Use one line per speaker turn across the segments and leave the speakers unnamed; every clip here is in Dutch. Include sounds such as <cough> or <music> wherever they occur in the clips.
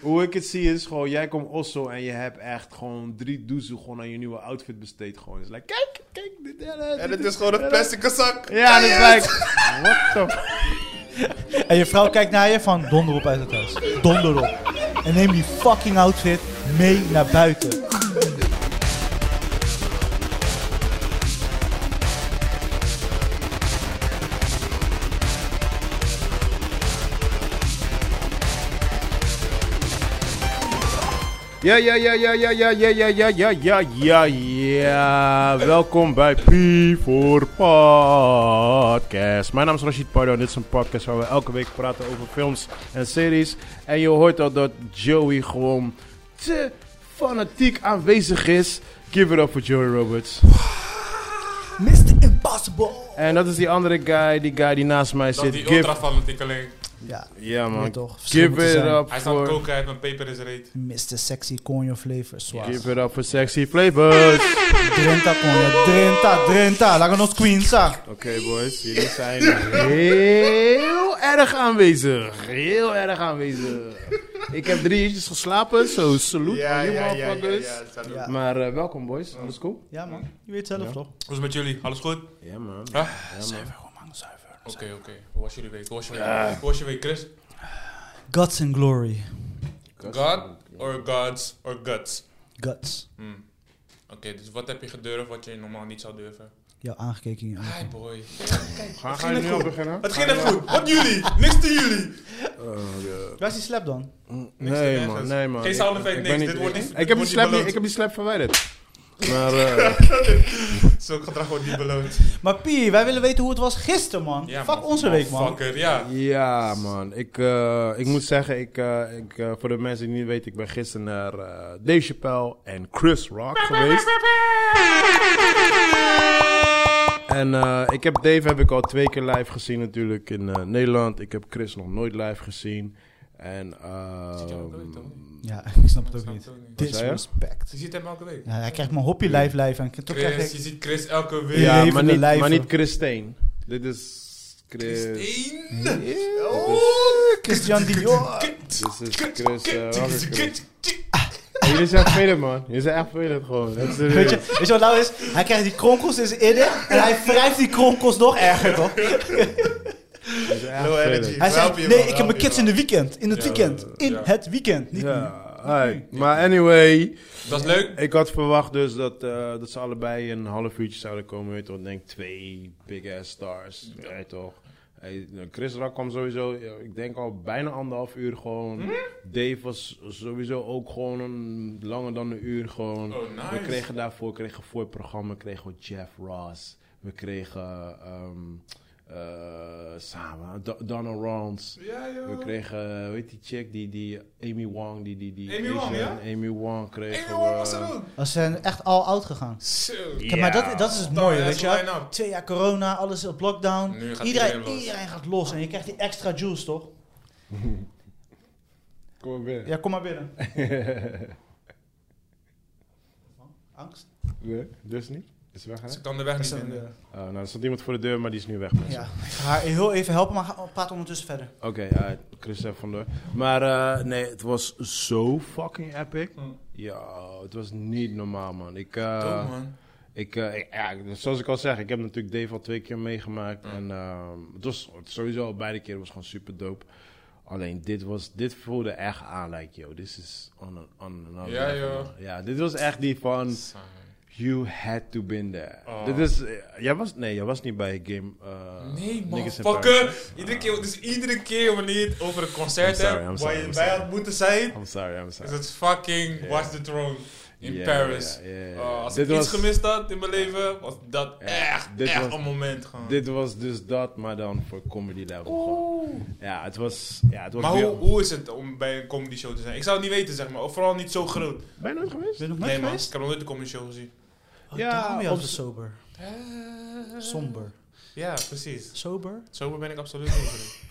Hoe ik het zie is gewoon, jij komt Osso en je hebt echt gewoon drie doezoe gewoon aan je nieuwe outfit besteed. Gewoon. Het is like, kijk, kijk. Dit, ja, dit,
En
dit
het is gewoon een plastic zak.
Ja, dat
Kijk
is
uit.
like, what the...
En je vrouw kijkt naar je van donder op uit het huis. Donder op. En neem die fucking outfit mee naar buiten.
Ja, ja, ja, ja, ja, ja, ja, ja, ja, ja, ja, ja, ja. Welkom bij P voor Podcast. Mijn naam is Rashid Pardo en dit is een podcast waar we elke week praten over films en series. En je hoort al dat Joey gewoon te fanatiek aanwezig is. Give it up for Joey Roberts.
Mr. Impossible.
En dat is die andere guy, die guy die naast mij
Dat
zit.
die
Give,
ultra fanatiekeling.
Ja,
ja
Moet
man,
toch verschil
give
moeten
it
zijn.
up
Hij staat
for...
koken, hij heeft een peper in zijn reet.
Mr. Sexy Conjo Flavor Swaz.
Give it up for sexy flavors.
Drenta Conjo, Drenta, Drenta. Laganos Queensa.
Oké boys, jullie zijn heel erg aanwezig. Heel erg aanwezig. Ik heb drie uurtjes geslapen, zo salute
Ja,
aan
ja, ja,
jullie
ja,
dus.
motherfuckers.
ja, ja,
Ja.
Maar eh, welkom boys, alles cool?
Ja man, je weet zelf toch?
Hoe is het met jullie? Alles goed? Oké,
Ja man.
Ja,
Zuiver gewoon man, zuiver.
oké. Hoe was jullie week? Hoe was je week? Hoe was je week, Chris?
Guts and Glory.
God or gods or guts?
Guts.
Hmm. Oké, dus wat heb je gedurfd wat je normaal niet zou durven?
Jou aangekeken in je ogen.
Hi boy.
Ga, ga je nu al beginnen?
Het ging net goed. Wat jullie? Niks te jullie.
Waar is die slap dan?
Nee
nergens.
man, nee man.
Geen
Ik-
sound
ik
effect,
ben
niks. Dit wordt niet- dit
Ik heb die
wordt
slap
niet
niet- ik heb die slap verwijderd. <laughs> Maar eh,
Zulk gedrag wordt niet beloond.
Maar Pie, wij willen weten hoe het was gisteren man.
Ja,
Fuck onze week man.
Fucker, ja.
Ja, man. Ik, eh, ik moet zeggen, ik, eh, ik, eh, voor de mensen die niet weten, ik ben gisteren naar eh Dave Chappelle en Chris Rock geweest. En eh, ik heb Dave heb ik al twee keer live gezien natuurlijk in eh, Nederland. Ik heb Chris nog nooit live gezien. En eh,
Ziet jou ook nooit, toch?
Ja, <laughs> ik snap het ook
Snap
niet.
het ook niet. Dus
zei je?
Disrespect.
Je ziet hem elke week.
Ja, hij krijgt mijn hoppie live live en toch
Chris,
krijg
je
ik...
ziet Chris elke week.
ja, maar
levende
niet, maar
lijven.
niet Chris Steen. Dit is Chris.
Christine. Oh,
Christian Dior.
Dit is Chris. eh, welke Chris? Jullie zijn vervelend, man. Jullie zijn echt vervelend gewoon. Dat is
Weet
serieus.
je, weet je wat nou is? Hij krijgt die kronkels in zijn idden en hij wrijft die kronkels nog erger,
<laughs>
toch?
Jullie zijn echt
Low
vervelend.
energy.
Hij
Help
zegt,
je, man,
nee, ik heb
help
mijn
je,
kids in het weekend. In het
Ja.
weekend. In
Ja.
het weekend. Niet nu.
Ja, hi. maar anyway,
Dat is leuk.
ik had verwacht dus dat, eh, dat ze allebei een half uurtje zouden komen. Weet je toch, ik denk twee big ass stars. Ja. toch. Hey, nou, Chris Rock kwam sowieso, ja, ik denk al bijna anderhalf uur gewoon. Dave was sowieso ook gewoon een, langer dan een uur gewoon.
Oh, nice.
We kregen daarvoor, kregen voor het programma, kregen we Jeff Ross. We kregen ehm, eh, samen, Do- Donald Rons.
Ja, joh.
We kregen, weet die chick, die, die Amy Wong, die, die, die
Amy
Asian,
Wong, ja?
Amy Wong kregen
Hey, hoor,
we-
was er ook.
Als ze zijn echt al oud gegaan.
Zo.
Ja.
Kijk, maar dat, dat is het mooie,
Ja,
weet
is
je
een
wel.
line-up.
Twee jaar corona, alles op lockdown.
Nu gaat
Iedereen,
iedereen los.
iedereen gaat los en je krijgt die extra juice, toch?
Kom maar binnen.
Ja, kom maar binnen. <laughs> Angst?
Nee, Dus niet? Is weg, hè?
Ze kan de weg niet
Zo,
vinden.
Oh, nou, er stond iemand voor de deur, maar die is nu weg. mensen.
Ja, ik ga haar heel even helpen, maar ga- praat ondertussen verder.
Oké, ja, Chris even vandoor. Maar eh, nee, het was zo fucking epic.
Mm.
Ja, het was niet normaal, man. Ik, eh,
Dope, man.
Ik, eh, ik- ja, ik- zoals ik al zeg, ik heb natuurlijk Dave al twee keer meegemaakt. En ehm, het was sowieso al beide keer was gewoon super dope. Alleen dit, was, dit voelde echt aan, like, yo, this is on, an- on another
Ja,
level,
joh.
man. Ja, dit was echt die van, you had to been there.
Oh.
Dit is, eh, jij was, nee, jij was niet bij Game... eh,
Nee, man.
Niggas in Paris.
Fucker. Iedere keer, dus iedere keer wanneer je het over een concert
I'm sorry, I'm
hebt
sorry,
waar je
I'm
bij
sorry.
had moeten zijn,
I'm sorry, I'm
is
sorry.
het fucking
Ja.
Watch the Throne in
Ja,
Paris.
ja, ja, ja, ja.
Oh, als
Dit
ik
was-
iets gemist had in mijn leven, was dat
Ja,
echt,
dit
echt
was-
een moment gewoon.
Dit was dus dat, maar dan voor comedy level. gewoon. Ja, het was... Ja, het was
maar
weer-
hoe, hoe is het om bij een comedy show te zijn? Ik zou het niet weten, zeg maar. Of vooral niet zo groot.
Ben je nooit geweest?
Ben je nog nooit
Nee, man. Ik
geweest?
heb nog nooit een comedy show gezien.
Oh,
Ja,
daarom ben je
op- Eh.
altijd sober. Somber.
Ja, precies.
Sober?
Sober ben ik absoluut niet.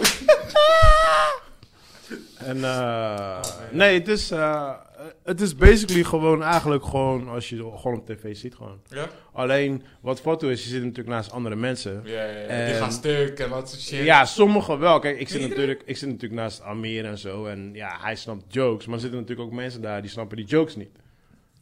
En eh, nee, het is, eh, eh, het is basically gewoon eigenlijk gewoon als je gewoon op tv ziet gewoon.
Ja?
Alleen wat foto is, je zit natuurlijk naast andere mensen.
Ja, ja, ja. Die
En-
gaan stuk en wat soort shit.
Ehm, Ja, sommigen wel. Kijk, ik zit,
Iedereen?
natuurlijk, ik zit natuurlijk naast Amir en zo. En ja, hij snapt jokes. Maar er zitten natuurlijk ook mensen daar die snappen die jokes niet.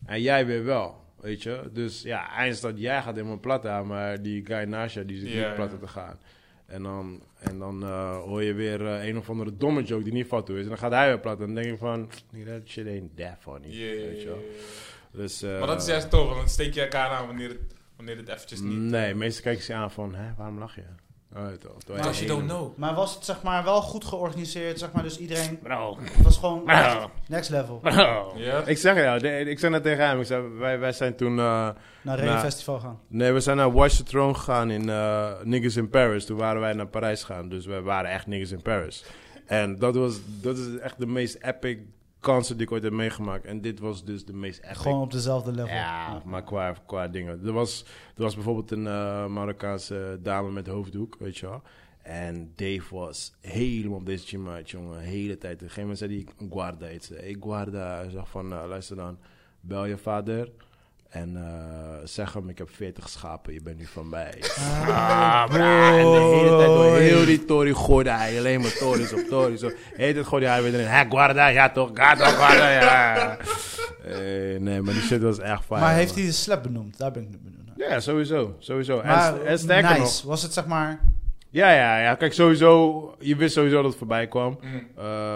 En jij weer wel, weet je. Dus ja, eindstand, jij gaat helemaal plat aan. Maar die guy naast je, die zit
Ja,
niet plat
ja.
aan te gaan. En dan, en dan eh, hoor je weer eh, een of andere domme joke die niet fout is. En dan gaat hij weer plat. En dan denk ik van, that shit ain't that funny.
Ja, ja,
Weet je
ja,
wel.
ja.
Dus, eh,
Maar dat is juist tof, want dan steek je elkaar aan wanneer het, wanneer het eventjes niet...
Nee, meestal kijken ze je aan van, hè, waarom lach je? Oh, weet je wel. Terwijl
Because you
één-
don't know.
Oh. Maar was het zeg maar wel goed georganiseerd? Zeg maar, dus iedereen
Bro,
was gewoon
bro,
next level.
bro.
Ja?
Ik zeg ja, de- ik zei net tegen hem. Ik zei, wij, wij zijn toen. eh,
Naar
Nou.
een festival gaan.
nee, we zijn naar Watch the Throne gegaan in eh, Niggas in Paris. Toen waren wij naar Parijs gegaan. Dus we waren echt Niggas in Paris. En dat, was, dat is echt de meest epic concert die ik ooit heb meegemaakt. En dit was dus de meest epic.
Gewoon op dezelfde level.
Ja, maar qua, qua dingen. Er was, er was bijvoorbeeld een eh, Marokkaanse dame met hoofddoek, weet je wel. En Dave was helemaal op deze chimaat, jongen. De hele tijd. Op een gegeven moment zei hij, guarda iets. Ik guarda. Hij zag van, eh, luister dan, bel je vader. En eh, zeg hem, ik heb 40 schapen, je bent nu van mij. <laughs> Ah, bra, en de hele tijd door heel die tori gooide hij alleen maar tories op tories. op. Heet het gooide hij weer erin. Hé, guarda, ja toch, guarda, guarda, ja. <laughs> Eh, nee, maar die shit was echt fijn.
Maar heeft hij de slap benoemd? Daar ben ik niet benoemd. naar.
Ja, sowieso, sowieso. En,
Maar
st- en sterker
nice.
nog...
Was het zeg maar...
Ja, ja, ja. Kijk, sowieso... Je wist sowieso dat het voorbij kwam.
Mm.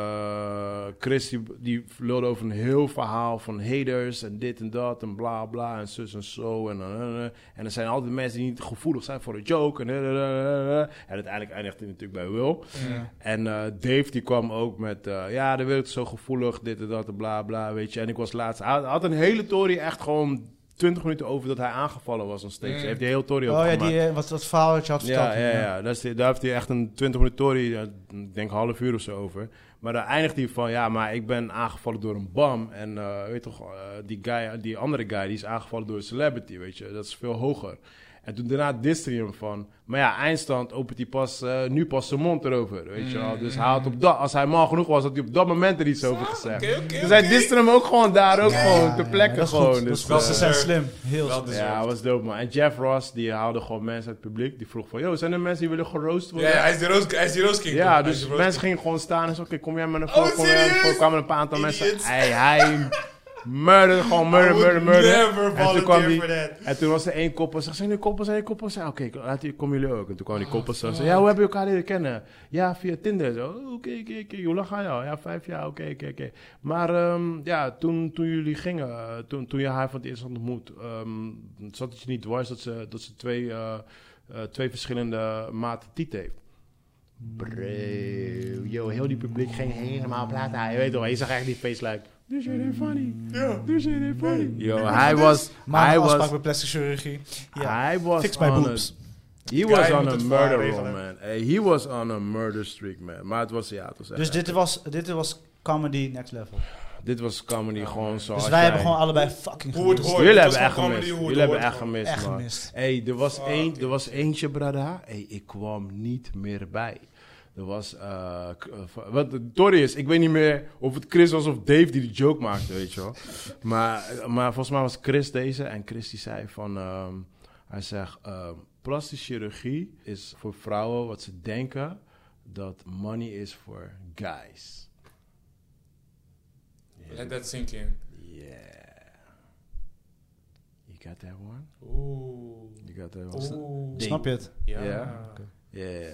Eh, Chris, die, die lulde over een heel verhaal van haters en dit en dat en bla bla en zus en zo. En, dan- en, dan- en er zijn altijd mensen die niet gevoelig zijn voor een joke. En, eh, en uiteindelijk eindigt hij natuurlijk bij Will.
Mm.
En eh, Dave die kwam ook met, eh, ja, de wereld is zo gevoelig, dit en dat en bla bla, weet je. En ik was laatst, hij had een hele tory echt gewoon 20 minuten over dat hij aangevallen was nog steeds.
Mm.
Hij heeft die hele tory
Oh ja,
opgemaakt.
die, eh, wat, dat verhaal dat je had verteld.
ja, ja, ja. Daar, is die- daar heeft hij echt een 20 minuten tory, eh, ik denk een half uur of zo over. Maar daar eindigt hij van, ja, maar ik ben aangevallen door een bam. En eh, weet toch, eh, die, guy, die andere guy, die is aangevallen door een celebrity, weet je. Dat is veel hoger. En toen daarna diste hij hem van. Maar ja, eindstand opent hij pas, eh, nu pas zijn mond erover, weet je wel. Dus hij had op dat, als hij mal genoeg was, had hij op dat moment er iets over gezegd.
Oké, oké,
dus hij
oké.
diste hem ook gewoon daar, ook gewoon,
Ja,
ter
ja,
plekke
dat is goed,
gewoon.
dat is
Dus,
goed.
eh, dus-
Ze zijn slim. Heel
Wel
slim.
deserved.
ja, was dope man. En Jeff Ross, die haalde gewoon mensen uit het publiek. Die vroeg van, yo, zijn er mensen die willen geroost
Ja,
worden?
ja, hij is die Roos, hij is die Roos King.
Ja,
Hij is
dus
die Roos
mensen gingen gewoon staan en zo, oké, kom jij met een volk? kom jij met een
serieus?
volk? kwamen een paar aantal mensen.
Idiots.
Hij, hij <laughs> murder, gewoon murder,
I
murder,
would
murder.
never
en, toen
volunteer
kwam die,
for that.
en toen was er één koppel, zeg, zijn er koppels, zijn er koppels? Ja, oké, laat die- komen jullie ook. En toen kwamen
Oh,
die koppels, zo, ja, hoe hebben jullie elkaar leren kennen? Ja, via Tinder, zo, "Oh, oké, oké, oké, hoe lang ga je al? Ja, vijf jaar, oké, oké, oké. Maar ehm, ja, toen, toen jullie gingen, eh, toen, toen je haar voor het eerst had ontmoet, ehm, zat het je niet dwars dat ze, dat ze twee, eh, eh, twee verschillende maten tiet heeft? Bro, yo, heel die publiek ging helemaal praten. Je weet wel, je zag echt die face like... This shit ain't funny.
Ja.
This shit ain't funny. Yo, hij was...
Maar
Hij
een afspraak
was...
bij plastic chirurgie. Ja.
Hij was
Fix my
on a,
boobs.
he
Guy
was
moet
on a
het
murder
voor
roll,
regelen.
man. Hey, he was on a murder streak, man. Maar het was, ja, het was echt...
Dus dit was, dit was comedy next level.
dit was comedy gewoon zo.
Dus wij hebben gewoon allebei fucking
Hoe het
gemist.
hoort.
Jullie
dit
hebben
was
echt
gewoon
gemist.
comedy, hoe het
Jullie hebben
hoort
echt gemist,
Echt
man.
gemist.
Hey, er was,
Fuck,
één,
dit
er was eentje, brada. Hey, ik kwam niet meer bij. Er was... eh, k- eh, va- wat het Tory is, ik weet niet meer of het Chris was of Dave die de joke maakte, weet je wel. Maar, eh, maar volgens mij was Chris deze. En Chris die zei van... ehm, hij zegt... ehm, plastische chirurgie is voor vrouwen wat ze denken dat money is voor guys.
Let that sink in.
Yeah. You got that one?
Oeh.
You got that one?
Oeh.
Ding.
Snap je het?
Ja.
Ja. Yeah.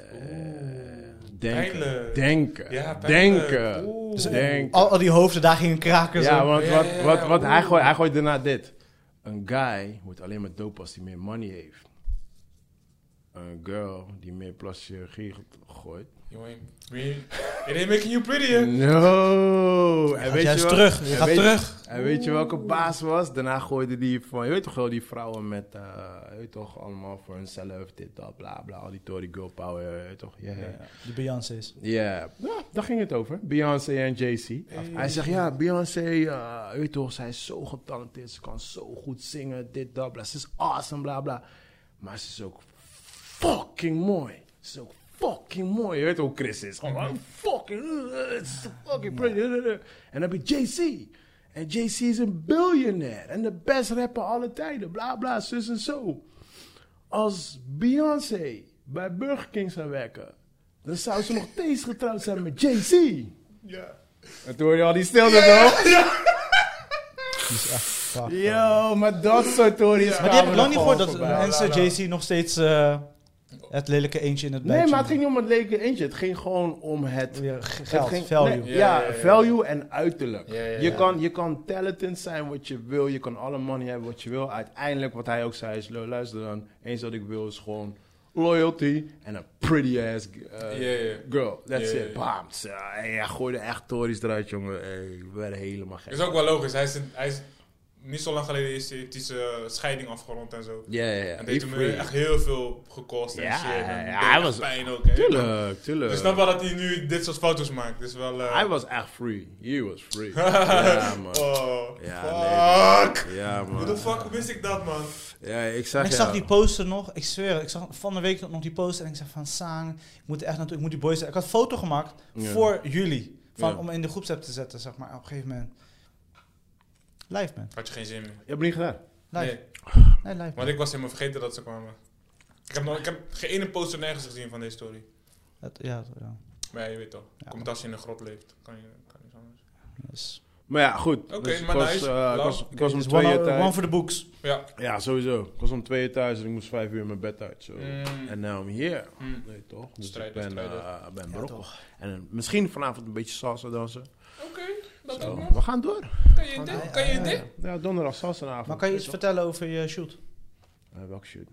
Denken.
Pijnlijk.
Denken.
Ja, pijnlijk.
Denken.
Oeh.
Dus Denken.
Al, al die hoofden, daar gingen kraken.
Ja,
zo.
want
Ja,
wat,
ja,
wat, wat hij,
oeh.
gooit, hij gooit daarna dit. Een guy wordt alleen maar dope als hij meer money heeft. Een girl die meer plastische chirurgie gooit.
You ain't, we ain't- it ain't making you
Mm.
prettier.
No!
Je
En
gaat
weet je
juist
wel-
terug. Je
en
gaat
weet-
terug.
En weet je welke baas was? Daarna gooide die van, je weet toch wel, die vrouwen met, eh, je weet toch, allemaal voor hunzelf, dit, dat, bla, bla, al die Tory girl power, je weet toch? Ja, ja, ja.
De Beyoncé's.
Ja, ja, daar ging het over. Beyoncé en Jay-Z. Hij zegt, ja, Beyoncé, eh, weet je toch, zij is zo getalenteerd. Ze kan zo goed zingen, dit, dat, bla. Ze is awesome, bla, bla. Maar ze is ook fucking mooi. Ze is ook fucking mooi. Je weet hoe Chris is. Gewoon fucking, eh, it's fucking pretty. En dan heb je Jay-Z. En JC is een billionaire. En de best rapper alle tijden. Bla bla, zus en zo. Als Beyoncé bij Burger King zou werken, dan zou ze nog steeds getrouwd zijn met JC.
Ja.
En toen hoor je al die stilte, toch?
Die is echt fucked.
Yo, maar dat soort tories.
Maar die heb ik lang niet gehoord
voor
dat
voorbij.
mensen
Ja, nou.
JC nog steeds eh, het lelijke eentje in het bijtje.
Nee, maar het ging niet om het lelijke eentje. Het ging gewoon om het...
Ja, g-
het
geld,
ging-
value.
nee,
Ja,
ja,
ja, ja, ja.
value en uiterlijk.
Ja, ja,
je,
ja.
Kan, je kan talented zijn wat je wil. Je kan alle money hebben wat je wil. Uiteindelijk, wat hij ook zei, is... "Lu- Luister dan, eens wat ik wil is gewoon loyalty en een pretty ass eh,
Ja, ja.
girl. That's
Ja, ja,
it.
ja.
Bam. Zo, hey, hij gooide echt tories eruit, jongen. Hey, we werden helemaal gek.
Dat is ook wel logisch. Hij is, een- hij is niet zo lang geleden is hij, die scheiding afgerond en zo.
Ja, ja, ja.
En
He
deed hem eh,
free.
echt heel veel gekost en
Ja,
shit. En
ja,
deed
hij
echt
was-
pijn ook. hè.
Tuurlijk, tuurlijk.
Ik snap wel dat hij nu dit soort foto's maakt. Dus wel. eh, <laughs>
Hij was echt free. He was free. ja, man.
Oh,
Ja,
fuck!
Ja,
Hoe de
man.
fuck wist ik dat, man?
Ja, ik zag,
En ik zag
ja.
die poster nog, ik zweer, het, ik zag van de week nog die poster en ik zei van Sang, ik moet echt naartoe, ik moet die boys. Ik had een foto gemaakt
Ja.
voor jullie, van,
Ja.
om in de groepsapp te zetten, zeg maar. Op een gegeven moment. Live man,
Had je geen zin meer.
Je hebt het niet gedaan.
live,
Nee,
nee live man.
want ik was helemaal vergeten dat ze kwamen. Ik heb, nog, ik heb geen ene poster nergens gezien van deze story.
Dat- ja, ja.
Maar ja, je weet toch.
Ja.
Komt als je in een grot leeft. Kan je kan niks anders.
Dus,
Maar ja, goed.
Oké,
Dus ik
maar
was,
nice.
eh,
Lauw.
ik was, ik was om
dus
twee
one,
uur
hour- one
thuis.
for the books.
Ja.
Ja, sowieso. Ik was om twee uur thuis en ik moest vijf uur mijn bed uit. zo.
Mm.
En now I'm here.
Mm.
Nee, toch? Dus
Strijder,
ik ben,
strijder.
eh, ben berokkeld. En eh, misschien vanavond een beetje salsa dansen.
Oké, dat
Zo.
ook nog.
We gaan door.
Kan je dit? Kan je dit?
Ja, donderdag salsaavond.
Maar kan je iets vertellen over je shoot?
Eh, welke shoot?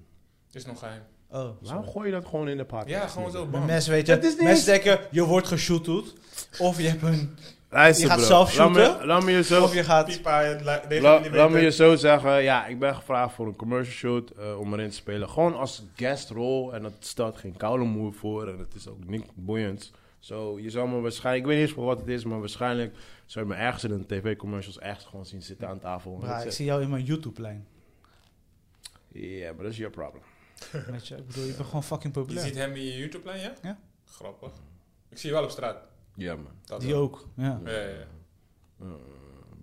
Is nog geheim.
Oh,
Waarom gooi je dat gewoon in de party?
Ja, gewoon zo. Bam.
Mensen weten,
Het is niet
mensen denken, je wordt geshootdoet, of je
<laughs>
hebt een,
Luister,
Je gaat
bro.
zelf
Laat me-
shooten?
Laat me je zo
of je gaat...
Pipa, het li- deze
La-
millimeter.
laat me je zo zeggen, ja, ik ben gevraagd voor een commercial shoot eh, om erin te spelen. Gewoon als guestrol en dat staat geen koude moe voor en het is ook niet boeiend. Zo, je zal me waarschijnlijk, ik weet niet eens voor wat het is, maar waarschijnlijk zou je me ergens in een tv-commercials echt gewoon zien zitten aan tafel. en
Bra,
dat
ik
is
zie jou in mijn YouTube-lijn.
het. Ja, maar dat is je probleem.
Weet je, ik bedoel, je bent gewoon fucking
Je
populair.
ziet hem in je YouTube-lijn, ja?
Ja.
Grappig. Ik zie je wel op straat.
Ja, man.
Dat
Die
wel.
ook, ja.
Ja, ja, ja.
Eh,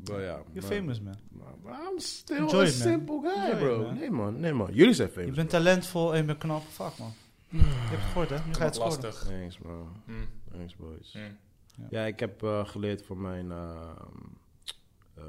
maar ja,
You're
maar-
famous man.
maar- maar I'm still
Enjoy
a
it, man.
simple guy,
Enjoy it,
bro.
man.
Nee, man. Nee, man. Jullie zijn
Je
famous.
bent talentvol en je bent knap. Fuck man. Je hebt het gehoord hè, nu ga je het
Wordt
scoren.
lastig.
Thanks, man.
Hm,
Thanks, boys.
hm.
Ja, ik heb eh, geleerd van mijn eh, eh,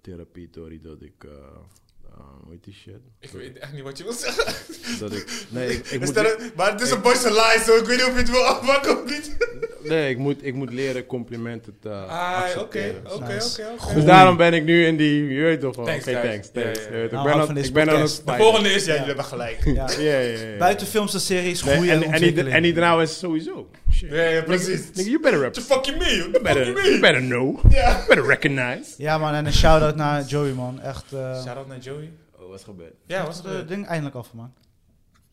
therapie, Tori, dat ik. eh, eh, hoe heet die shit?
Ik weet echt niet wat je wil zeggen.
Dat ik. Nee, ik, ik
Is
moet,
dat een- maar het is een boys lie, zo ik weet niet of je het wil afpakken of niet.
nee ik, moet, ik moet leren complimenten te.
Ah,
accepteren.
oké, oké,
Nice.
oké,
Dus
oké.
daarom ben ik nu in die. Je weet toch wel. Oké,
Thanks,
thanks,
guys.
thanks.
Ja, ja, ja.
Je weet toch,
Nou,
Ik ben
af
aan-
van deze
ik ben aan het
podcast.
De
spijnen.
volgende is, ja,
Ja.
jullie hebben gelijk.
Ja.
Ja, ja, ja, ja.
Buiten films en series
Nee,
groeien
en,
en,
en, die, en die
ontwikkeling.
daarna is sowieso. Shit.
Ja, ja, precies.
Nigga, you better rap.
What the fuck you mean? What the fuck
Better,
you
you
mean?
better know.
Ja.
Better recognize.
Ja man, en een shout-out naar Joey man. Echt, eh
Shout-out naar Joey.
Oh, wat is gebeurd?
Ja,
was
was eh,
het ding eindelijk afgemaakt.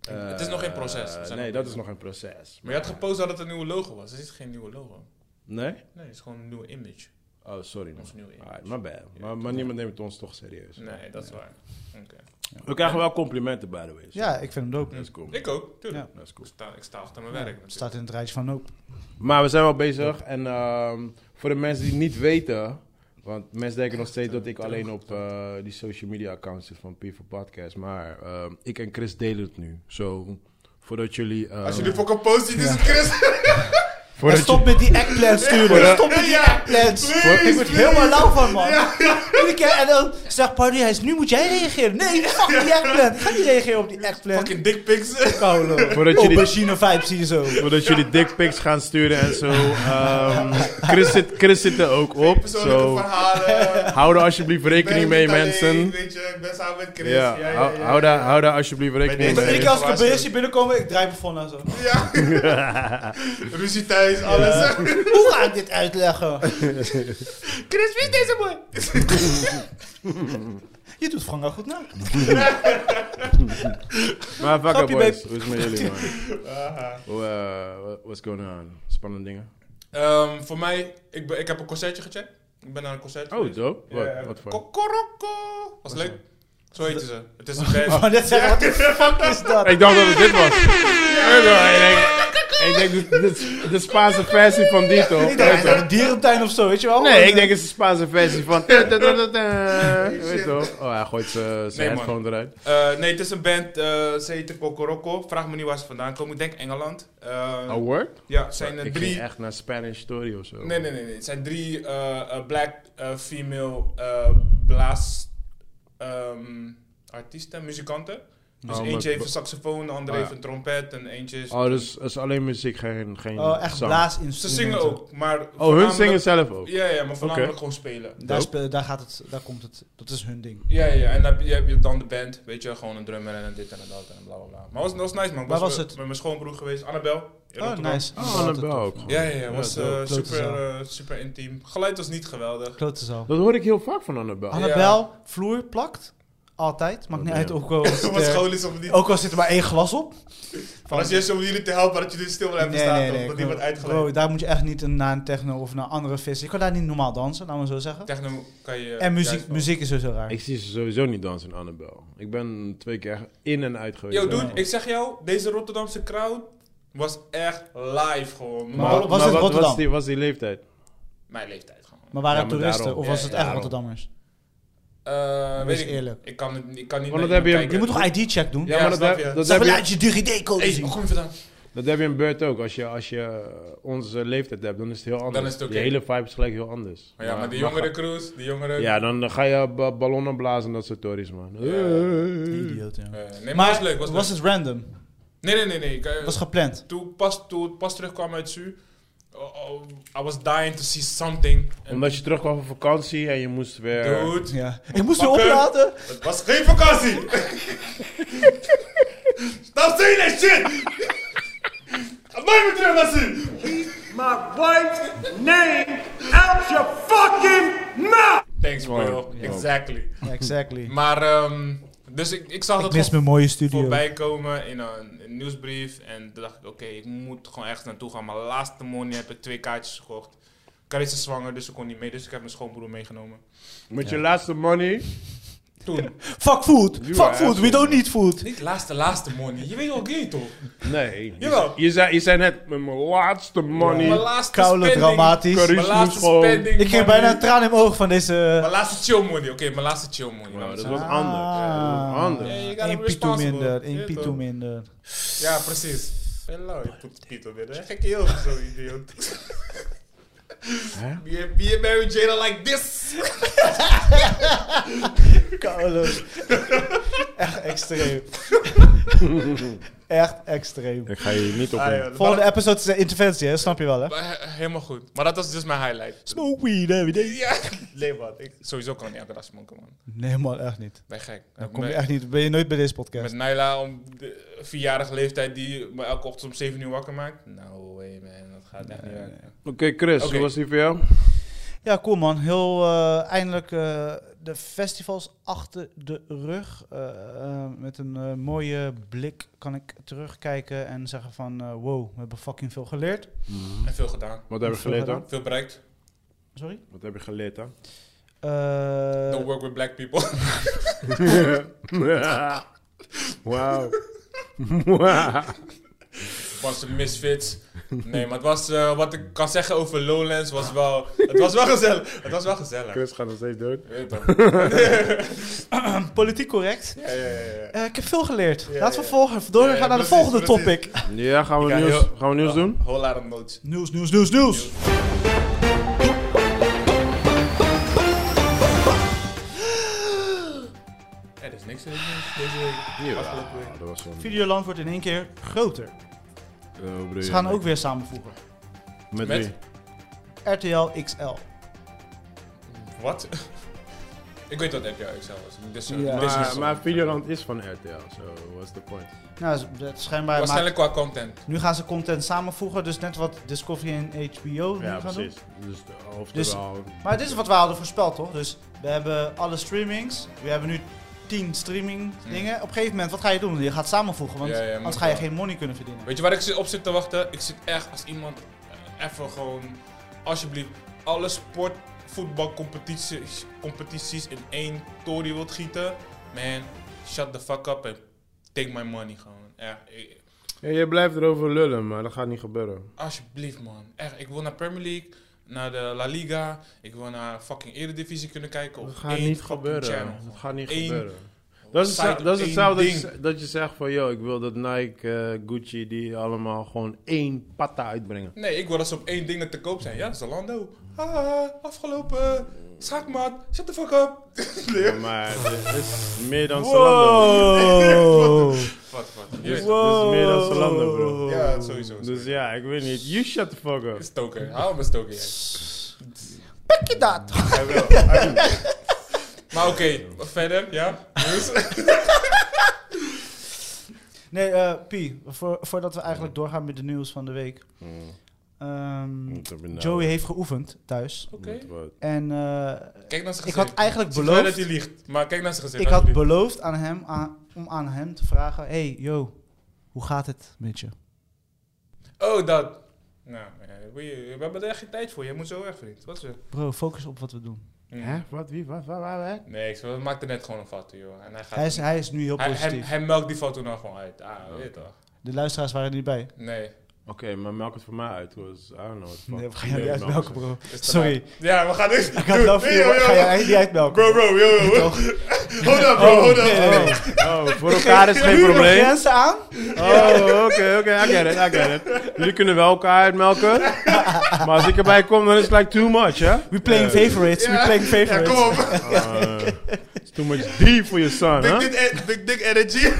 Het is nog geen proces. We
Eh,
zijn
nee,
nog-
dat is nog geen proces.
Maar je had gepost dat het een nieuwe logo was. Het is geen nieuwe logo.
Nee?
Nee, het is gewoon een nieuwe image.
Oh, sorry. Man.
Ons nieuwe image.
Alright, my bad. Maar, maar niemand neemt ons toch serieus.
Nee, dat is waar. Oké.
We krijgen wel complimenten, by the way. so
Ja, ik vind hem dope.
That's cool.
Ik ook, tuurlijk.
That's
Ik
cool.
sta, ik sta achter mijn
Ja,
werk.
Staat in het rijtje van ook.
Maar we zijn wel bezig. En ehm, voor de mensen die het niet weten... Want mensen denken nog steeds dat ik alleen op eh, die social media accounts zit van P4 Podcast. Maar ehm, ik en Chris delen het nu. Zo, voordat jullie... ehm,
Als jullie voor een post ziet, is het Chris.
voordat
En stop met die
<laughs>
eggplant sturen.
Voordat-
Stop met die
Ja,
eggplants.
please,
Ik word
please.
helemaal lauw van man. Iedere keer en dan zegt Party, hij is nu moet jij reageren. Nee, fuck die eggplant. Ik ga niet reageren op die eggplant.
Fucking dickpics.
Koude.
Voordat jullie-
Aubergine vibes hier zo.
Voordat jullie dickpics gaan sturen en zo. ehm, Chris, zit, Chris zit er ook op.
Persoonlijke
Zo,
verhalen.
hou er alsjeblieft
Ben
rekening mee,
niet alleen,
mensen.
Weet je, ik ben samen met Chris.
Ja, Oh.
Ja, ja,
hou-
ja,
Hou, daar, hou daar alsjeblieft
Bij
rekening
deze-
mee.
Iedere keer als ik een
waarschuwing.
berichtje binnenkom, ik draai mijn phone naar zo.
Ja. Ruzie thuis, alles.
Eh, Hoe ga ik dit uitleggen?
<laughs> Chris, wie is deze boy?
<laughs> Je doet Frank wel goed nou. na.
Maar fuck up,
Grapje,
boys.
babe.
Hoe is het met jullie, man?
<laughs>
Hoe, eh, wa- what's going on? Spannende dingen?
Ehm, voor mij, ik, ben, ik heb een concertje gecheckt. Ik ben naar een concert
Oh, dope. Wat,
Ja,
wat voor?
Kokoroko. Was leuk. Zo heette ze. Het
<laughs> Oh,
is een band.
Maar net zeggen, wat de fuck is dat?
Ik dacht dat het dit was. Ik dacht- ik denk- Ik ik denk de, de, de Spaanse versie van die toch?
Ik dacht, een dierentuin of zo, weet je wel?
Nee, ik denk het is de Spaanse versie van. Weet je wel? Oh, hij gooit zijn
Nee, man.
headphone eruit.
Eh, nee, het is een band, eh ze heet Kokoroko. Vraag me niet waar ze vandaan komen. Ik denk Engeland. Eh,
Oh, word?
Ja, het zijn er
Ik
drie...
ging echt naar Spanish Story of zo.
Nee, nee, nee. nee. Het zijn drie eh, eh, black eh, female eh blaas ehm, artiesten, muzikanten. Dus
Oh, maar-
eentje heeft een saxofoon, de andere
Ah, ja.
heeft een trompet en eentje is...
Oh, dus het is alleen muziek, geen, geen
Oh, echt
zang.
Ze
blaasinstrumenten.
zingen ook, maar...
Oh, hun
voornamelijk-
zingen zelf ook.
Ja, ja, maar voornamelijk
Oké.
gewoon spelen.
Daar, spe- daar, gaat het, daar komt het. Dat is hun ding.
Ja, ja, en dan heb je- heb je dan de band, weet je, gewoon een drummer en dit en dat en bla bla bla. Maar was, dat was nice man, ik
Waar
was,
was
met-
het?
met mijn schoonbroer geweest, Annabel. in
Oh,
Rotterdam.
nice.
Oh, Annabel ook.
Ja, ja, ja, was
Ja,
eh,
dope. Klote
super,
zaal.
eh, super intiem. Geluid was niet geweldig.
Klote zaal.
Dat hoor ik heel vaak van Annabel.
Annabel, vloer plakt. Altijd. Maakt
Oh,
niet
damn.
uit.
<laughs>
Ook al, is het,
Wat
eh,
school is om niet.
ook al zit er maar één glas op.
Van als je is om jullie te helpen, dat je dus stil blijft staan, nee, dat die wordt uitgeleid.
Bro, daar moet je echt niet een- naar een techno of naar andere vis. Je kan daar niet normaal dansen, laten we zo zeggen.
Techno kan je...
en
juist
muziek,
wel.
muziek is sowieso raar.
Ik zie ze sowieso niet dansen in Annabel. Ik ben twee keer in en uit geweest.
Yo,
Ja.
dude, ik zeg jou, deze Rotterdamse crowd was echt live gewoon.
Maar
Rotterdam-
was het
wat
Rotterdam?
was die, was die leeftijd?
Mijn leeftijd gewoon.
Maar waren
Ja,
het
maar
toeristen
daarom.
of was
Ja,
het
ja,
echt
daarom.
Rotterdammers?
Eh
Wees
weet ik,
eerlijk.
Ik kan, het- ik kan niet
Want
naar
dat heb je-
iemand
Je
kijken.
moet toch ID-check doen?
Ja,
maar
snap
dat,
je.
heb-
Dat
dat, heb je,
laat je DigiD-code
Hey,
zien.
gooi me vandaan.
dat heb je in beurt ook. Als je, als je eh, onze leeftijd hebt, dan is het heel anders.
is het oké.
De hele vibe is gelijk heel anders.
Maar ja, maar die jongere crews, die jongere...
Ja, dan eh, ga je ba- ballonnen blazen en dat soort tories, man.
Idioot, ja.
Eh, nee, maar,
Maar
was leuk, was, leuk.
het random?
Nee, nee, nee, nee. ik, eh,
Was gepland?
toen, pas, toen ik pas terugkwam uit Su, oh, oh, I was dying to see something. En
Omdat je terugkwam van vakantie en je moest weer...
Dude,
Ja. Ik moest weer
Pakken.
opladen.
het was geen vakantie! Stop saying that shit! Ga nooit meer terug naar Su!
my wife's name out your fucking mouth!
Thanks, bro.
Wow.
Exactly.
Exactly.
Maar, ehm, dus ik, ik zag
Ik
dat
mis
gewoon
mijn mooie studio.
voorbij komen in een, een nieuwsbrief. En toen dacht ik, oké, ik moet gewoon ergens naartoe gaan. Maar laatste money heb ik twee kaartjes gekocht. Carissa is zwanger, dus ze kon niet mee. Dus ik heb mijn schoonbroer meegenomen.
Met je laatste money.
Toen,
Fuck food. Fuck food. We
asshole.
don't need food.
niet laatste, laatste money. Je weet wel gay, toch?
Nee.
Jawel.
Je, zei, je zei net, met mijn laatste money.
Mijn laatste
Koude
spending.
dramatisch.
Mijn laatste
Curry's moest
spending
Ik kreeg
money.
bijna een traan in mijn oog van deze...
Mijn laatste chill money. Oké, mijn laatste chill money.
Nou, dat
Ja,
was anders. Ja, dat was anders.
Ja, je gaat
Ah. Eén
hem
pito
responsible.
minder.
Ja,
Eén pito
toch? <laughs>
minder.
Ja, precies. Hello, je poet Pieter binnen. Gekke heel zo,
<laughs>
idioot.
Hè?
Me and me and Mary Jane are like this. <laughs>
Koude. Echt extreem. Echt extreem.
Ik ga je niet op...
Ah, ja,
Volgende
maar-
episode is eh, interventie, hè? Snap je wel, hè?
maar he- Helemaal goed. Maar dat was dus mijn highlight.
Smoke weed every day.
Ja. Nee, man. Ik sowieso kan ik niet elke dag smoken, man.
Nee, man, echt niet.
Ben gek.
Dan kom je
Met-
echt niet. Ben je nooit bij deze
Met
podcast.
Naila om de vierjarige leeftijd die me elke ochtend om 7 uur wakker maakt. No way, man. Dat gaat echt niet werken.
Oké, Chris,
Oké.
hoe was die voor jou?
Ja, cool, man. Heel eh, eindelijk eh, de festivals achter de rug. Eh, eh, met een eh, mooie blik kan ik terugkijken en zeggen van... eh, wow, we hebben fucking veel geleerd.
En veel gedaan.
Wat heb je geleerd dan?
Veel bereikt.
Sorry?
Wat heb je geleerd dan?
Eh,
Don't work with black people.
<laughs>
<laughs>
<laughs> Wauw.
was een misfits. Nee, maar het was, eh, wat ik kan zeggen over Lowlands was wel... Het was wel gezellig. Het was wel gezellig.
Chris gaat nog steeds dood.
Weet <laughs> je toch?
<clears throat> Politiek correct.
Ja, ja, ja, ja.
Eh, ik heb veel geleerd.
Ja,
Laten we
ja.
volgen, doorgaan
Ja, ja,
naar de
precies,
volgende
precies.
topic.
Ja, gaan we
Ik ga
nieuws,
heel-
gaan we nieuws doen?
Whole lot of notes.
Nieuws, nieuws, nieuws, nieuws.
Er is niks in het nieuws deze week. Afgelopen week.
dat was een...
Videoland wordt in één keer groter.
eh, hoe bedoel
Ze
je?
gaan ook weer samenvoegen.
Met,
Met-
wie?
RTL XL.
Wat? Ik weet wat RTL XL was. Dus, eh,
Ja.
dit is een
Maar,
soort-
maar Videoland is van RTL, so what's the point?
Nou, z- dat schijnbaar maakt-
Waarschijnlijk qua content.
Nu gaan ze content samenvoegen, dus net wat Discovery en HBO nu
Ja,
gaan
precies.
doen.
Dus, eh,
Dus-
oftewel...
Maar dit is wat we hadden voorspeld, toch? Dus we hebben alle streamings. We hebben nu 10 streaming dingen. Op een gegeven moment, wat ga je doen? Je gaat samenvoegen, want
Ja, ja,
anders
moet
ga je
wel.
geen money kunnen verdienen.
Weet je waar ik zit- op zit te wachten? Ik zit echt als iemand eh, even gewoon, alsjeblieft, alle sport, voetbalcompetities competities in één tory wilt gieten. Man, shut the fuck up en take my money gewoon. Echt, ik,
Ja, je blijft erover lullen, maar dat gaat niet gebeuren.
Alsjeblieft, man. Echt, ik wil naar Premier League, naar de La Liga. Ik wil naar fucking Eredivisie kunnen kijken. Op
Dat gaat
één
niet
fucking
gebeuren.
channel.
Dat gaat niet
Eén
gebeuren. Dat is,
site
hetzelfde-
op
dat is
één
hetzelfde dat
ding.
je, dat je zegt van, yo, ik wil dat Nike, eh, Gucci, die allemaal gewoon één patta uitbrengen.
Nee, ik wil dat ze op één ding dat te koop zijn. Ja, Zalando. Haha, afgelopen. Schaakmaat, shut the fuck up. Nee,
Maar het is meer dan Zalando.
Wow.
Wat, wat. Je
Dus,
weet-
Het is meer dan Zalando, bro.
Ja, sowieso.
Dus ja, ik weet niet. You shut the fuck <laughs> up.
Stoker, hou me stoker. jij.
Pak je dat?
Hij wil, hij wil. Maar oké, verder, ja. Nieuws.
Nee, eh Pi, voor, voordat we eigenlijk doorgaan met de nieuws van de week. Ehm,
Hmm, Moet er benauwd.
Joey heeft geoefend thuis.
Oké.
Moet wat.
En eh,
Kijk naar zijn gezicht.
ik had eigenlijk
Ik weet dat
beloofd...
hij liegt, maar kijk naar zijn gezicht.
Ik had
alsjeblieft.
beloofd aan hem, aan- om aan hem te vragen... Hey, yo, hoe gaat het met je?
Oh, dat. Nou, eh, we we hebben er echt geen tijd voor. Jij moet zo weg, vriend. Wat is er?
Bro, focus op wat we doen.
Mm.
Hè? Wat? Wie? Wat? Waar? Waar? waar?
Nee, ik we maakten net gewoon een foto, joh. En hij gaat...
Hij is, hij is nu heel
hij, hij,
positief.
hij melkt die foto nou gewoon uit. Ah, weet je toch?
De luisteraars waren er niet bij.
Nee.
Oké, maar melk het voor mij uit. Was, I don't know. what the fuck.
Nee, we gaan jou niet
melk
<laughs>
uitmelken,
het.
bro.
is te
Sorry.
laat. Ja, we gaan dit.
Ik had wel voor je, maar ik ga jou echt niet uitmelken.
Bro, bro, yo, yo.
Toch?
<laughs> Hold up, bro, hold up.
Oh,
Oh, voor elkaar is geen
Nog
probleem.
grenzen aan?
Oh, oké, oké, I get it, I get it. Jullie kunnen wel elkaar uitmelken. Maar als ik erbij kom, dan is het like too much, hè?
We playing favorites, we playing
Ja,
favorites.
kom op.
Uh, it's too much beef for your
<laughs>
son, Ah, hè?
Big,
Ja,
dick en- big dick e- energy.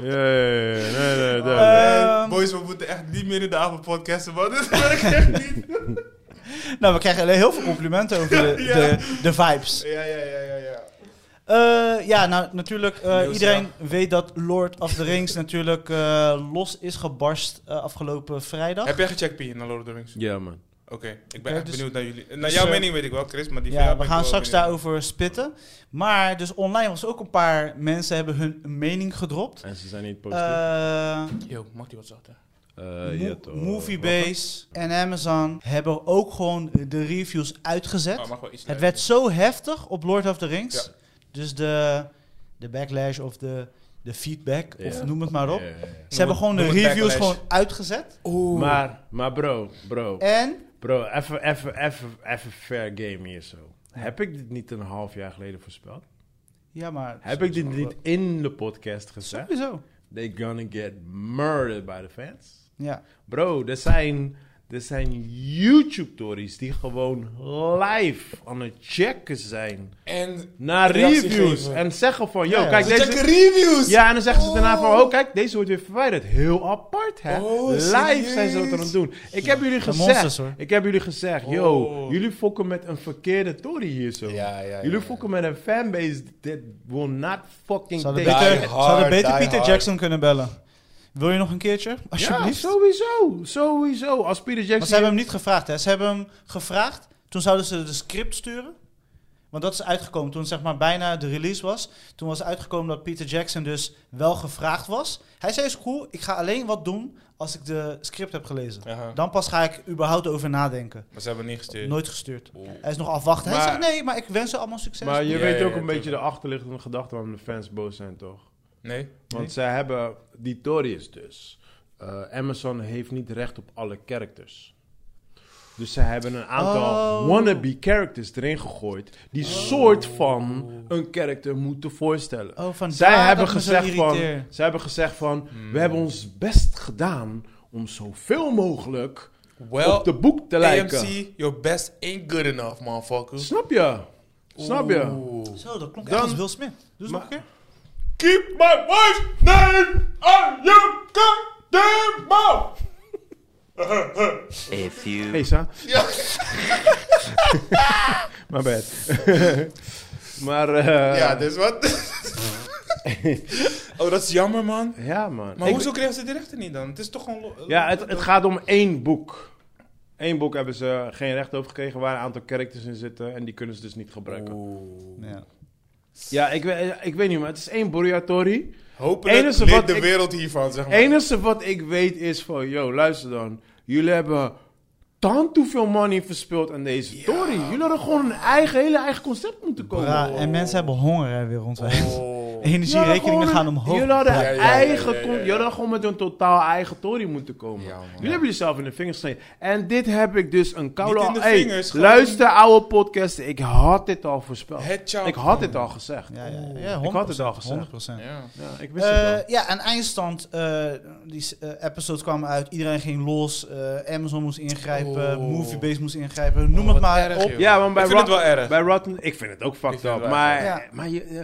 ja, ja, ja, nee, nee, nee.
Ehm,
Boys, we moeten echt niet meer in de avond podcasten, man. <laughs> Dit werkt echt niet.
nou, we krijgen heel veel complimenten over
<laughs>
de,
Ja.
de, de vibes.
Ja, ja, ja, ja, ja.
Eh, ja, nou natuurlijk, eh,
Nieuws,
iedereen weet dat Lord of the Rings natuurlijk eh, los is gebarst eh, afgelopen vrijdag.
Heb jij gecheckt, P, naar Lord of the Rings?
Ja, man.
Oké, ik ben
Ja,
echt
dus-
benieuwd naar jullie. Naar
dus,
jouw
eh,
mening weet ik wel, Chris, maar die van
Ja,
jou
we
ben ik
gaan
wel
straks
benieuwd.
daarover spitten. Maar dus online was ook een paar mensen hebben hun mening gedropt.
En ze zijn niet positief.
Eh
Yo, mag die wat zachter?
Eh
Mo-
ja, toch.
Moviebase en Amazon hebben ook gewoon de reviews uitgezet.
Oh, mag wel iets
het
luider.
werd zo heftig op Lord of the Rings.
Ja.
Dus de, de backlash of de, de feedback,
Ja.
of noem het maar op.
Ja, ja, ja.
Ze hebben
het-
gewoon de
noem het
reviews
backlash.
gewoon uitgezet.
Maar, maar bro, bro,
En
bro, even, even, even, even fair game hier zo. Heb ik dit niet een half jaar geleden voorspeld?
ja, maar
Heb ik dit niet in de podcast gezegd?
sowieso.
They gonna get murdered by the fans.
Ja.
Bro, er zijn, er zijn YouTube-tories die gewoon live aan het checken zijn.
En...
Naar
Reactie
reviews.
geven.
En zeggen van, yo,
Ja, ja.
kijk
Ze checken
deze...
reviews!
Ja, en dan zeggen ze daarna van,
Oh.
oh kijk, deze wordt weer verwijderd. Heel apart, hè?
Oh,
live
serieus?
zijn ze dat aan het doen. Ik heb jullie
zijn
gezegd,
monsters, hoor.
ik heb jullie gezegd, yo,
Oh.
jullie fokken met een verkeerde tory hier zo.
Ja, ja, ja,
jullie
ja.
fokken met een fanbase that will not fucking
Ze hadden
take
beter,
Die
ze hadden
hard,
beter
die
Peter
hard.
Jackson kunnen bellen. Wil je nog een keertje? Alsjeblieft.
Ja, sowieso. Sowieso. Als Peter
Want
Jackson...
ze hebben hem niet gevraagd, hè? Ze hebben hem gevraagd. Toen zouden ze de script sturen. Want dat is uitgekomen toen zeg maar bijna de release was. Toen was uitgekomen dat Peter Jackson dus wel gevraagd was. Hij zei, is cool, ik ga alleen wat doen als ik de script heb gelezen.
Aha.
Dan pas ga ik überhaupt over nadenken.
Maar ze hebben niet gestuurd.
Nooit gestuurd.
Oeh.
Hij is nog afwachten. Hij
Maar-
zegt, nee, maar ik wens ze allemaal succes.
Maar je
Ja,
weet
ja,
ook
ja,
een beetje de
tuurlijk.
achterliggende gedachte waarom de fans boos zijn, toch?
Nee?
Want zij hebben die theorie is dus. eh, Amazon heeft niet recht op alle characters. Dus zij hebben een aantal
Oh.
wannabe characters erin gegooid. Die soort van een character moeten voorstellen.
Oh, vandaar
zij, hebben
dat me zo
gezegd van,
irriteer.
zij hebben gezegd van... We hebben ons best gedaan om zoveel mogelijk
Well,
op de boek te lijken.
AMC, your best ain't good enough, motherfucker.
Snap je? Snap je?
Zo, dat klonk
Dan-
echt als Will Smith. Doe eens nog
Maar-
een keer.
Keep my wife's name on your goddamn mouth!
A few
Hey, Sa. <laughs> My bad. <laughs> maar, eh,
Ja, dus wat? <laughs> oh, dat is jammer, man.
ja, man.
Maar
Ik-
hoezo kregen ze die rechten niet dan? Het is toch gewoon... lo-
Ja, het, het gaat om één boek. Eén boek hebben ze geen recht over gekregen, waar een aantal characters in zitten. En die kunnen ze dus niet gebruiken.
Oh.
Ja.
Ja, ik, weet- ik weet niet, maar het is één Boriatori.
Hopelijk
Enige
leert
wat
de
ik-
wereld hiervan, zeg maar.
Het enige wat ik weet is van, yo, luister dan. Jullie hebben tant hoeveel money verspild aan deze story. Jullie hadden gewoon een eigen, hele eigen concept moeten komen.
<laughs> Bra, en mensen hebben honger hè, weer rond.
Oh.
energierekeningen
Jullie
Dus gaan
hadden gewoon
omhoog.
een- Jullie hadden
Ja.
een
ja, ja,
eigen...
ja, ja,
con-
ja.
Jullie hadden gewoon met een totaal eigen tory moeten komen.
Ja, man.
jullie hebben jezelf in de vingers gesneden. En dit heb ik dus een koude...
Niet in de
Hey,
vingers, gewoon-
luister oude podcast. Ik had dit al voorspeld.
Het jou-
Ik had dit al gezegd.
Ja, ja, ja, 100%,
Ik had het al gezegd.
100%.
Ja.
Ja, ik wist het
Eh,
al.
ja, en eindstand, eh, die s- eh, episode kwam uit, iedereen ging los, eh, Amazon moest ingrijpen,
Oh.
Moviebase moest ingrijpen, noem
Oh, wat
het maar
erg,
op.
joh.
Ja, want bij
Ik vind het
Rot-
wel erg.
Bij Rotten, ik vind het ook
Ik
fucked
vind
up.
het wel
Maar,
erg, ja.
maar je, eh,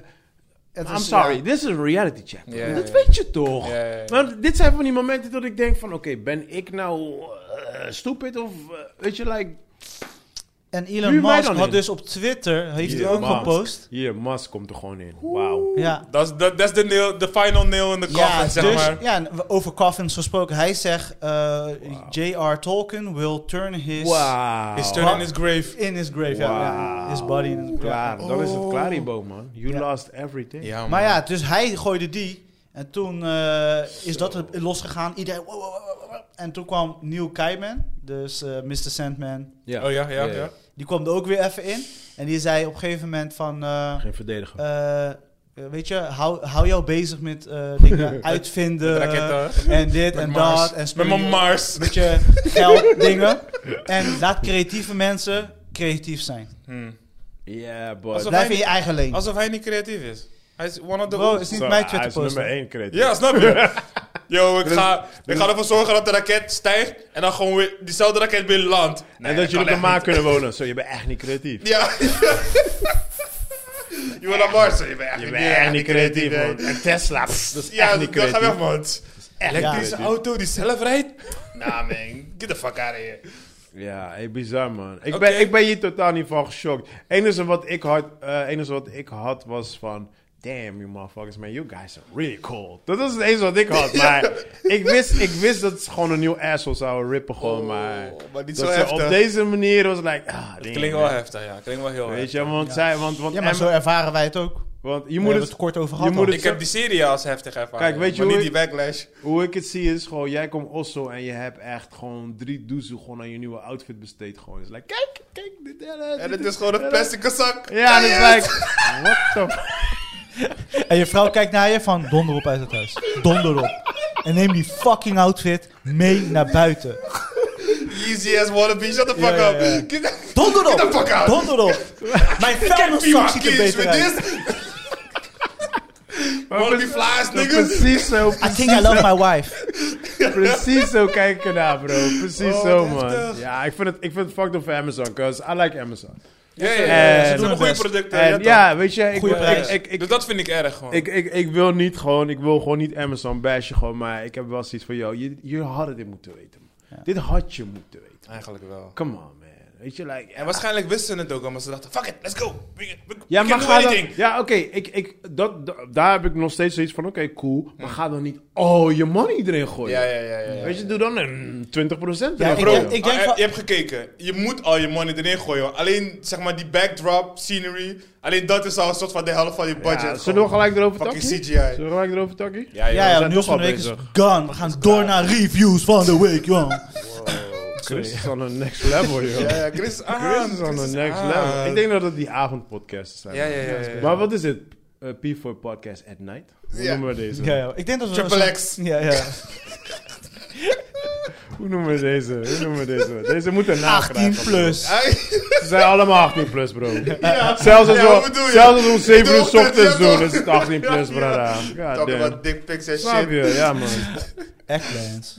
Het
I'm
is,
sorry,
ja,
this is a reality check.
Ja, ja,
dat
ja.
weet je toch?
Ja, ja, ja.
Want dit zijn van die momenten dat ik denk van, oké, ben ik nou eh, stupid of, eh, weet je, like...
en
Huur
Elon
mij
Musk
dan
had
in.
dus op Twitter, heeft hij
Elon
ook
Musk.
gepost.
Hier, Mas komt er gewoon in. Wauw.
Ja.
Dat is- Dat dat is de nail- de final nail in the coffin,
ja,
zeg
dus,
maar.
ja, en we- over coffins gesproken. Hij zegt, eh, J.R. Tolkien will turn his...
Wauw.
Is turn in his grave.
Oh. In his grave, ja, ja.
Wauw.
His body in his grave.
Klaar, dan is het klaar die boom, man. You
Ja.
lost everything.
Ja, man.
Maar ja, dus hij gooide die. En toen eh, is dat het losgegaan. Iedereen... wow, wow, wow, wow, wow. En toen kwam Neil Kaiman, dus eh, Mr. Sandman.
Ja.
Oh ja,
Ja,
ja,
ja.
ja.
Die kwam er ook weer even in. En die zei op een gegeven moment van... eh,
Geen verdediger.
eh, weet je, hou, hou jou bezig met eh,
<laughs>
dingen uitvinden.
Met raketten.
En dit
Met
en
Mars.
dat. En
Met mijn Mars.
Met je geld, dingen. En laat creatieve mensen creatief zijn.
Hmm.
Ja, boy.
Alsof
Blijf
hij,
in je
niet,
eigen leen.
alsof hij niet creatief is. Hij is one of the...
Bro, is niet
Zo,
mijn
Hij
Twitter
is nummer
post.
1 credit.
Ja, snap
<laughs>
je? Yo, ik ga, ik ga ervoor zorgen dat de raket stijgt en dan gewoon weer diezelfde raket weer landt. Nee,
en dat jullie op de
kan echt
maan kunnen wonen. Zo, je bent echt niet creatief.
niet. Ja. je wil naar Mars, hè? je bent echt
Je
niet-
bent echt niet creatief,
hè?
man. En Tesla, pff, dat is
Ja,
echt niet
dan ga weg,
creatief.
man. Elektrische
creatief.
auto die zelf rijdt?
<laughs>
Nah, man. Get the fuck out of here.
Ja, hey, bizar man. Ik,
Oké.
ben, ik ben hier totaal niet van geschokt. Enige wat ik had, eh, enige wat ik had was van... Damn, you motherfuckers, man. You guys are really cool. Dat is het enige wat ik had. Maar ik wist, ik wist dat ze gewoon een nieuw asshole zouden rippen. Gewoon,
Oh,
maar,
maar niet
dat
zo
ze
heftig.
op deze manier was like... Ah, damn,
Klinkt wel
man.
heftig, ja. Klinkt wel heel
Weet
heftig.
je, want, zij, want, want,
Ja, maar
Em-
zo ervaren wij het ook.
want je
We
moet
hebben
het,
het kort over gehad.
moet
al.
het-
Ik heb die serie als heftig ervaren.
Kijk, weet je
maar
hoe
niet die backlash.
Hoe ik het zie is gewoon... Jij komt Osso en je hebt echt gewoon drie doezel gewoon aan je nieuwe outfit besteed. Gewoon. Het is like, kijk, kijk. Dit, en dat,
En
dit,
het is gewoon een
en dat.
plastic zak.
Ja, en het is like... What the
En je vrouw kijkt naar je van donder op uit het huis. Donder op. En neem die fucking outfit mee naar buiten.
Easy as wannabe, shut the fuck
Ja, ja, ja.
up. Get-
Donder
Get the
op.
fuck out.
Donder op. Mijn vuilniszak ziet er beter uit.
Wanna be
precies-
flies,
Nou,
niggas?
Precies zo,
I think I love my wife.
precies zo kijk ik ernaar, bro. Precies
Oh,
zo,
wat
man.
heftig.
Ja, ik vind het, ik vind het fucked up voor Amazon, cause I like Amazon.
Ja, ja,
En-
ja. Ze doen
Doen
goede
best.
producten.
En ja, weet je, ik,
Goeie
wil- ik,
prijs.
ik, ik,
dus dat vind ik erg gewoon.
ik, ik, ik wil niet gewoon, ik wil gewoon niet Amazon bashen, gewoon, maar ik heb wel zoiets van, yo, je, je had dit moeten weten. man. Dit had je moeten weten.
Eigenlijk wel.
Come on, man. Weet je, like...
En waarschijnlijk wisten ze het ook al, maar ze dachten, fuck it, let's go. We, we, we
Ja,
can
maar
do
ga dan,
anything.
ja, oké, ik, ik, dat, da- daar heb ik nog steeds zoiets van, oké, cool. Maar ga dan niet al je money erin gooien.
Ja, ja, ja. ja, ja.
Weet je, doe dan een 20% erin.
Ja, ik
gooien.
denk- ik
Ah, eh,
van-
je hebt gekeken. Je moet al je money erin gooien. hoor. Alleen, zeg maar, die backdrop, scenery. Alleen dat is al een soort van de helft van je budget.
Ja, zullen
gewoon.
we gelijk erover takken?
Fucking
Zullen
CGI.
we gelijk erover takken?
Ja,
Ja,
ja.
ja,
zijn
nieuws
toch
van
al
de week is
bezig.
gone. We gaan door naar reviews van de week, jong.
Chris is on the next level, joh.
Ja, ja, Chris ah. is aan.
Chris is on the
Chris is
next
aan.
level. Ik denk dat het die avondpodcasts zijn.
Ja, ja, ja, ja, ja.
Maar wat is het? Eh, P4 Podcast at Night? Hoe
Ja.
noemen we deze?
Ja, ja. Ik denk dat we...
Triple X.
Ja, ja.
Hoe noemen we deze? Hoe noemen we deze? Deze moet
<laughs>
een naam
18
krijgen.
plus.
Ze zijn allemaal 18 plus, bro.
Ja.
Zelfs als
Ja,
we
wat bedoel je?
zelfs als we om 7
Ik
uur
doe ook
ochtends
dit, ja,
doen,
toch?
is het 18 plus,
Ja,
bro.
ja.
God
Talk
damn.
about dick pics en
Snap je?
shit.
Ja, man.
<laughs> Eggplants.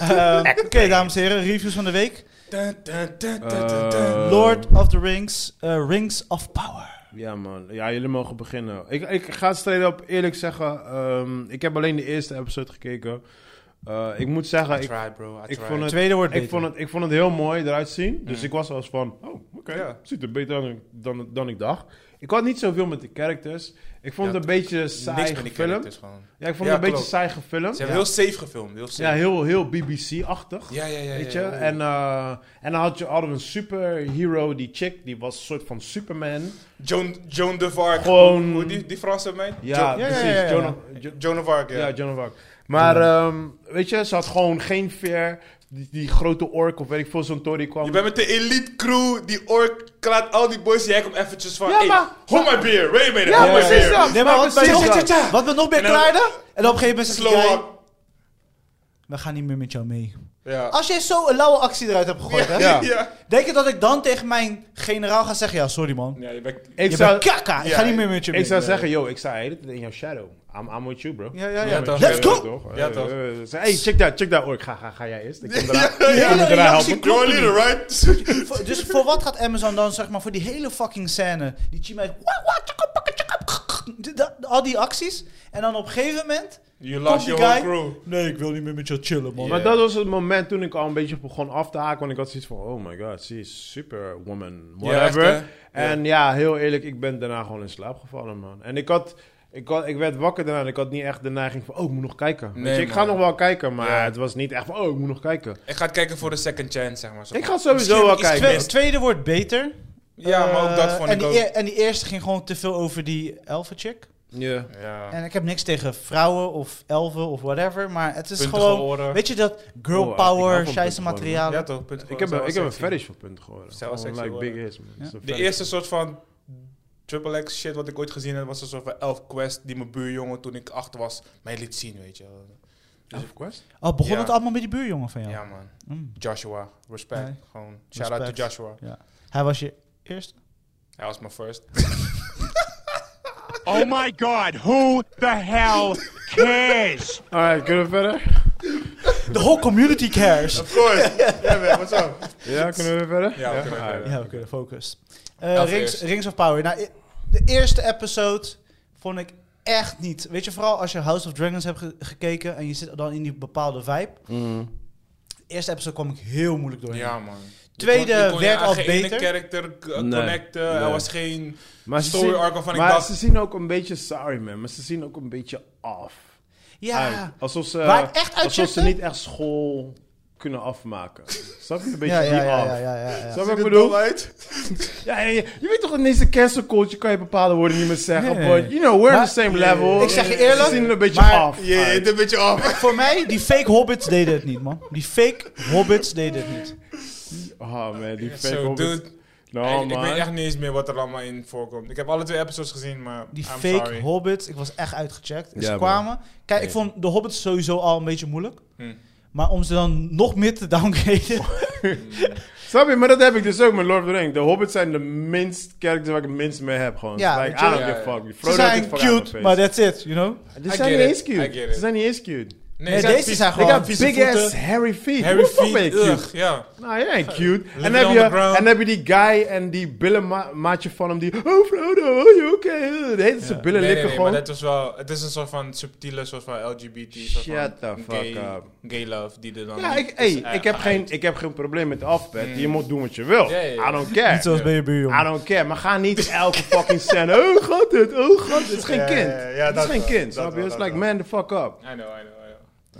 Eh, Oké, dames en heren. Reviews van de week.
Dun, dun, dun, dun, dun, dun.
Eh,
Lord of the Rings. eh, Rings of Power.
Ja, man. Ja, jullie mogen beginnen. Ik, ik ga straight op eerlijk zeggen. ehm, ik heb alleen de eerste episode gekeken. Eh, ik moet zeggen,
I
ik,
tried, bro. I
ik
tried.
vond het.
Tweede wordt
Ik vond, het, ik vond het heel mooi eruit zien. Dus ik was als van, oh, oké,
Ja.
ziet er beter uit dan, dan, dan ik dacht. Ik had niet zoveel met de characters. Ik vond
Ja,
het een beetje saai
niks met die
gefilmd.
characters gewoon.
Ja, ik vond
Ja,
het een beetje
klopt.
saai gefilmd.
Ze
Ja,
hebben heel safe gefilmd. Heel
ja,
safe.
heel, heel BBC-achtig.
Ja, ja, ja.
Weet je?
ja, ja.
En, eh, en dan had je hadden we een superhero, die chick, die was een soort van Superman.
Joan, Joan de Vark.
Gewoon-
Hoe- hoe die, die Franse meid?
Ja,
ja, ja,
precies.
ja, ja.
Jonah- Jo-
Joan de Vark, ja.
Ja, John of Arc. Maar ehm, weet je, ze had gewoon geen veer. die, die grote ork of weet ik veel, zo'n Tory kwam.
Je bent met de elite crew, die ork klaat al die boys. Jij komt eventjes van,
Ja,
hey,
maar-
hold my beer, wait a minute,
Ja,
hold my
precies
beer.
dat.
Nee, maar wat,
precies,
nog,
ja, ja.
wat we nog meer
En dan-
klaarden. En op een gegeven moment zegt
Slow
jij,
up.
we gaan niet meer met jou mee.
Ja.
Als jij zo een lauwe actie eruit hebt gegooid, hè?
Ja.
Ja.
Denk je dat ik dan tegen mijn generaal ga zeggen, ja, sorry man.
Ja, je bent...
ik
je
zou,
bent kaka, ik
Ja,
ga niet meer met je mee.
ik zou zeggen, yo, ik sta de hele tijd in jouw shadow. I'm, I'm with you, bro.
Ja, ja, ja.
Ja, toch.
Let's
Ja,
go!
toch?
Ja,
Eh,
toch.
eh, ze- hey, check dat, check dat ork. Ga, ga, ga jij eerst. Ik kom eraan.
Ja,
Die
ja.
hele
moet eraan
reactie
helpen.
You're a
klopt niet.
leader,
<laughs>
right?
Voor- Dus voor wat gaat Amazon dan, zeg maar, voor die hele fucking scène? Die Chima is... "Wa, wa, tjaka, pakka, tjaka, kuk, kuk." De- de- Al die acties. En dan op een gegeven moment...
You
komt
lost
die
your whole
guy...
crew.
Nee, ik wil niet meer met jou chillen, man.
Ja.
Maar dat was het moment toen ik al een beetje begon af te haken. Want ik had zoiets van, oh my god, she is superwoman. Whatever.
echt, hè?
en ja. heel eerlijk, ik ben daarna gewoon in slaap gevallen, man. En ik had... Ik, had, ik werd wakker daarna en ik had niet echt de neiging van, oh, ik moet nog kijken.
Nee,
Weet je, ik ga
man.
nog wel kijken, maar
Ja.
het was niet echt van, oh, ik moet nog kijken.
Ik ga het kijken voor de second chance, zeg maar. zo.
Ik ga sowieso
Misschien
wel
iets
kijken.
Twee-
mist.
het tweede wordt beter.
Ja, maar ook dat
Eh,
vond
en
ik
die
ook.
eer- en die eerste ging gewoon te veel over die elfenchick.
Ja.
Ja.
En ik heb niks tegen vrouwen of elfen of whatever, maar het is
Puntige
gewoon...
oren.
Weet je dat girl
Oh, ik hou van
power,
puntige
scheisse
oren.
materialen?
Ja, toch? puntige
Ik
oren
heb,
zijn
ik heb
wel
een
sexy.
fetish voor punten geworden.
Zou wel
Gewoon
sexy
like big
worden.
is, man.
Ja.
It's a
De
fetish.
eerste soort van Triple X shit wat ik ooit gezien heb, was een soort van Elf Quest die mijn buurjongen toen ik achter was mij liet zien, weet je. wel.
Of course.
Oh, begon
Ja.
het allemaal met die buurjongen van jou?
Ja, man.
Mm.
Joshua, respect.
Nee.
Gewoon, shout out to
Respect.
Joshua.
Hij was je eerste?
Hij was mijn first.
Oh my god, who the
<laughs>
hell cares?
Alright, kunnen we verder?
The whole community
<laughs>
cares.
Of course! ja, man, what's up?
Ja, kunnen we weer verder?
Ja, we kunnen weer
alright.
verder.
Ja, oké, focus. Eh,
Elf
Rings,
Nou, eerst.
Rings of Power. Nou, i- de eerste episode vond ik echt niet. Weet je, vooral als je House of Dragons hebt ge- gekeken en je zit dan in die bepaalde vibe. De eerste episode kwam ik heel moeilijk doorheen.
Mm. Ja, man. Je
Tweede
kon- je kon je
werd
aan
al
geen
beter.
ene character c-
Nee.
connecten. Er
Nee.
was geen
Maar, ze
story
zien-
arc waarvan ik
maar ze
dacht...
zien ook een beetje, sorry man, maar ze zien ook een beetje af.
Ja.
Uit. Alsof ze,
Waar ik echt uit
alsof ze
checkte?
niet echt school kunnen afmaken. <laughs> Snap je? Een beetje
Ja,
die
ja, ja,
af.
ja, ja, ja, ja.
Snap je wat ik bedoel? Ja, ja, ja. Je weet toch, in deze cancel culture kan je bepaalde woorden niet meer zeggen.
Nee.
but, you know, we're on
Maar-
the same level.
Ik zeg je
Ze
eerlijk,
zien er een beetje
maar-
af.
Je
uit.
het een beetje <laughs> af.
Voor mij, die fake hobbits deden het niet, man. Die fake hobbits deden het niet.
Oh man, die fake
Zo,
hobbits.
dude.
No,
ik, ik
Oh, man.
weet echt niet eens meer wat er allemaal in voorkomt. Ik heb alle twee episodes gezien, maar
Die
I'm
fake
sorry.
hobbits, ik was echt uitgecheckt. En
Ja,
ze
man.
kwamen. Kijk, ik
Ja.
vond de hobbits sowieso al een beetje moeilijk.
Hm.
Maar om ze dan nog meer te <laughs> downgraden.
Snap je? Maar dat heb ik dus ook met Lord of the Rings. De hobbits zijn de minst characters waar ik het minst mee heb. Gewoon.
Ja,
like, I
natuurlijk.
don't give
Ja,
a
ja.
fuck.
Ze
Frodo had ik
zijn
fuck out of
cute,
face.
maar that's it, you know?
Ze
I
zijn niet
get
eens
it, I get
cute.
it.
Ze zijn niet eens cute.
Nee,
ze zijn
deze
vies-
zijn
Ik
gewoon
heb
vieze
big
voeten.
ass hairy feet.
Harry
Hoe ben je
Feet,
cute?
ugh, ja.
Nou, jij bent cute. En
it
heb,
on
je,
the ground.
en heb je die guy en die billenmaatje van hem die... Oh, Frodo, are you okay? De hele tijd zijn billen
Nee, nee,
likken
nee, maar
gewoon.
dat was wel... Het is een soort van subtiele, soort van LGBT, soort
Shut
van
the
gay,
fuck up.
gay love die er dan...
Ja,
niet
ik,
is,
hey,
eh,
ik, heb
uit. Mm.
geen, ik heb geen probleem met de alfabet. Je moet doen wat je wil.
Ja, ja, ja.
I don't care.
Niet zoals bij je
Eh, I
buurjongen.
don't care, maar ga niet elke fucking scène. Oh god, dit, oh god, dit is geen kind.
ja, ja,
dit
dat
is geen
wel,
kind,
dat
snap je?
wel,
It's
dat
like,
wel.
man, the fuck up.
I know, I know, I know.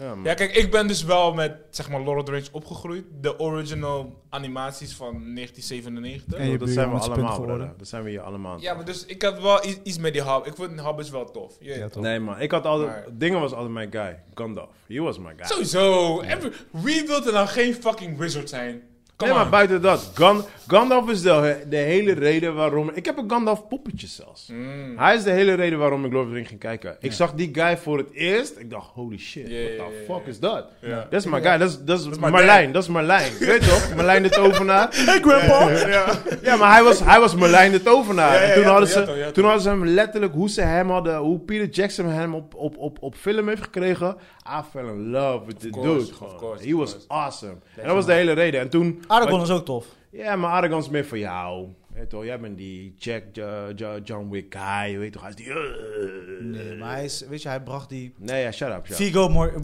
Ja, man.
Ja, kijk, ik ben dus wel met, zeg maar, Lord of the Rings opgegroeid. De original animaties van 1997.
En je
dat zijn we
buurjongen is punt
allemaal,
geworden.
broer. Dat zijn we hier allemaal.
Ja, maar dus ik had wel i- iets met die hub. Ik vond Hobbits wel tof. Je-
Ja, toch?
Nee man, ik had altijd,
Maar-
Dingen was altijd mijn guy. Gandalf, he was my guy.
Sowieso. Every- wie wil er nou geen fucking wizard zijn? Kom
nee,
on.
maar buiten dat, Gan- Gandalf is de, de hele reden waarom... Ik heb een Gandalf poppetje zelfs.
Mm.
Hij is de hele reden waarom ik Lord of the Rings ging kijken. Ik zag die guy voor het eerst, ik dacht, holy shit,
Ja, ja,
what the
ja,
fuck is dat?
Ja.
Dat is my guy, dat is- dat is
my
Merlijn, dat is Merlijn. Je Weet toch,
<laughs>
Merlijn de tovenaar.
Hey, grandpa!
Ja.
Ja, maar hij was, hij was Merlijn de Tovenaar.
Ja, ja,
en toen,
ja,
hadden
toch,
ze,
ja, toch, ja,
toen
toch.
hadden ze hem letterlijk, hoe ze hem hadden, hoe Peter Jackson hem op, op, op, op film heeft gekregen. I fell in love with the
course,
dude.
of
gewoon.
course,
He
of
was
course.
awesome. En dat was de hele reden. En toen...
Aragorn is ook tof.
Ja, maar Aragon is meer voor jou. Weet toch, jij bent die Jack, Ja- Ja- John Wick guy, weet toch, hij is die...
Nee, maar hij is, weet je, hij bracht die...
Nee, ja, shut up, shut up.
Vigo Mor
man.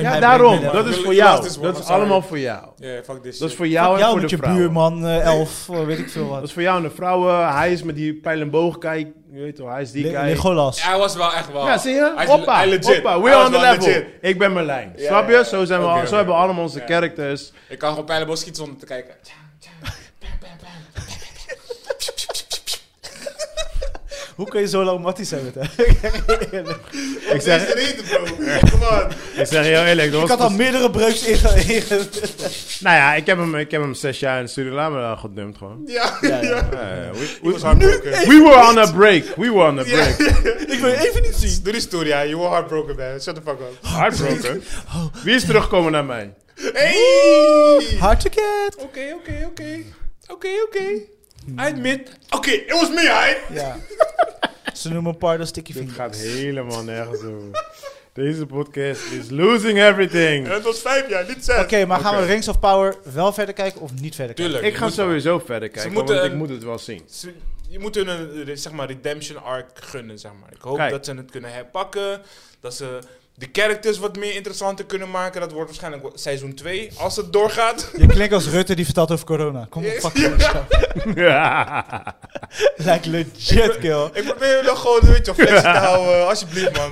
Ja,
Hij
Ja,
brengt
daarom.
me naar-
Dat
Wil
is
ik-
voor
ik las
jou.
this one,
Dat is
sorry.
allemaal voor jou.
Ja, fuck this
Dat is
shit.
voor jou en
jou
voor
met
de
je
vrouwen.
buurman, eh, elf, eh, weet ik veel
Dat
wat.
is voor jou en de vrouwen. Hij is met die pijl en boog kijk, weet toch, hij is <laughs> die
Le-
guy.
Legolas.
Hij was wel echt wel...
Ja, zie je?
Hij is-
Hoppa,
hij legit.
hoppa,
Hij
we're
was
on the
wel
level.
legit.
Ik ben Merlijn.
Ja,
Snap je?
ja, ja.
Zo, zijn we,
Oké,
al-
oké,
zo hebben we
oké.
allemaal onze
Ja.
characters.
Ik kan gewoon pijlenboog schieten zonder te kijken. Bam, bam, bam.
Hoe kun je zo lang matties hebben? Ted?
Ik zeg,
reden, bro. Come on.
ik zeg heel eerlijk, dat
Ik
was
had al meerdere breuks in.
Nou ja, ik heb, hem, ik heb hem zes jaar in Suriname eh, gedumpt gewoon.
Ja, ja.
Eh, we,
was hardbroken.
we were on a break. We were on a break.
Ik wil even niet zien. Doe die story, ja. You were heartbroken, man. Shut the fuck up.
Heartbroken. Wie is teruggekomen naar mij? <laughs>
Hey!
Hard to get.
Oké, oké, oké. Oké, oké. I admit.
Oké, it was me, hij.
Ja. <laughs> Ze noemen Pardo Sticky
Dit
Fingers.
gaat helemaal nergens over. Deze podcast is losing everything.
En het was vijf jaar, niet zes.
Oké, maar gaan we Rings of Power wel verder kijken of niet verder kijken?
Tuurlijk.
Ik ga sowieso verder kijken,
moeten-
want ik moet het wel zien.
<laughs> Ze- Je moet hun een eh, zeg maar, redemption arc gunnen, zeg maar. Ik hoop
Kijk.
dat ze het kunnen herpakken. Dat ze de characters wat meer interessanter kunnen maken. Dat wordt waarschijnlijk wa- seizoen 2, als het doorgaat. <laughs>
Je klinkt als Rutte die vertelt over corona. Kom
<laughs>
op, fuck yeah. Like legit, kill.
Ik probeer dan gewoon een beetje op
<laughs>
flexie te houden. Alsjeblieft, man.